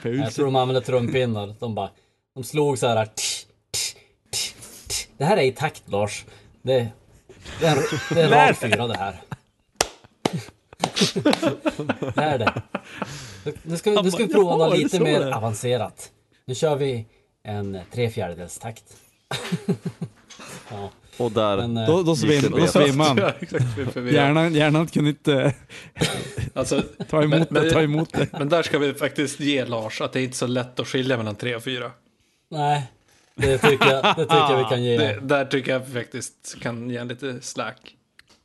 B: Jag tror de använde trumpinnar. De bara, de slog så här. tsch, tsch, tsch, tsch. Det här är i takt Lars. Det, det är, en- det är en
H: Lär
B: rad
H: dig.
B: fyra det här. Lär det. Nu ska, vi- nu ska vi prova något lite mer avancerat. Nu kör vi en tre fjärdedels takt. ja.
C: Och där
B: Men, eh,
A: Då, då,
B: gick det
A: svim, då
B: bet.
A: svimmar han.
B: Ja, exakt, blev förvirrad.
A: Hjärnan, hjärnan kunde inte eh,
D: Alltså,
A: ta emot
D: men-
A: det, ta emot det.
D: Men där ska vi faktiskt ge Lars att det är inte så lätt att skilja mellan tre och fyra.
B: Nej, det tycker jag, det tycker jag vi kan ge.
D: Det, där tycker jag faktiskt kan ge en lite slack.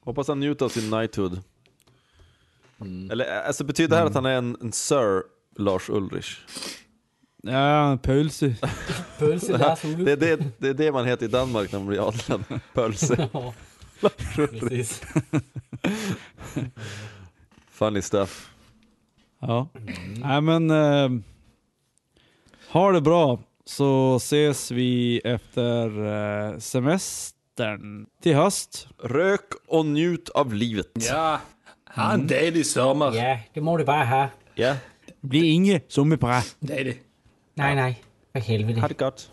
C: Hoppas han njuter av sin knighthood. Eller alltså betyder det här att han är en, en Sir Lars Ulrich?
A: Ja, Pölse.
B: Pölse, läs ordet.
C: det, är det, det är det man heter i Danmark när man blir adlad. Pölse.
B: Ja,
C: Lars Ulrich.
B: precis.
C: Funny stuff.
A: Ja, nej men eh, ha det bra så ses vi efter eh, semestern till höst.
C: Rök och njut av livet.
D: Ja, ha en dejlig sommar.
B: Mm. Ja, det må du bara ha.
C: Ja.
A: Bli inge sommerbra.
D: Det är det.
B: Nej, nej. För helvete.
C: Ha det gott.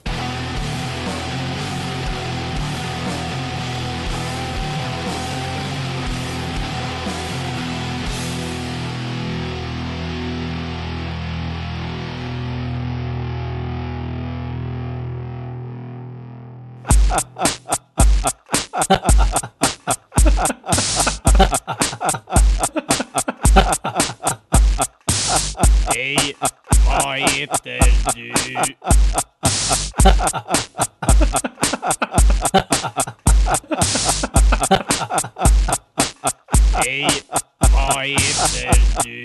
H: Hej, vad heter du? Hej, vad heter du?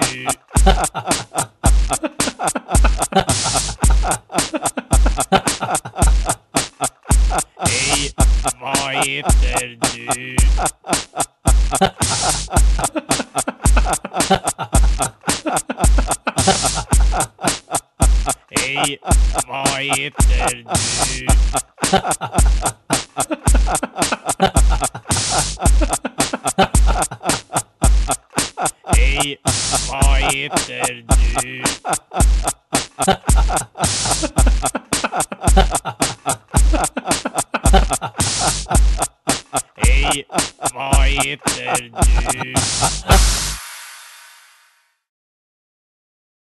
H: Hej, vad heter du? Hej, vad heter du? Hej, vad heter du? Hej, vad heter du?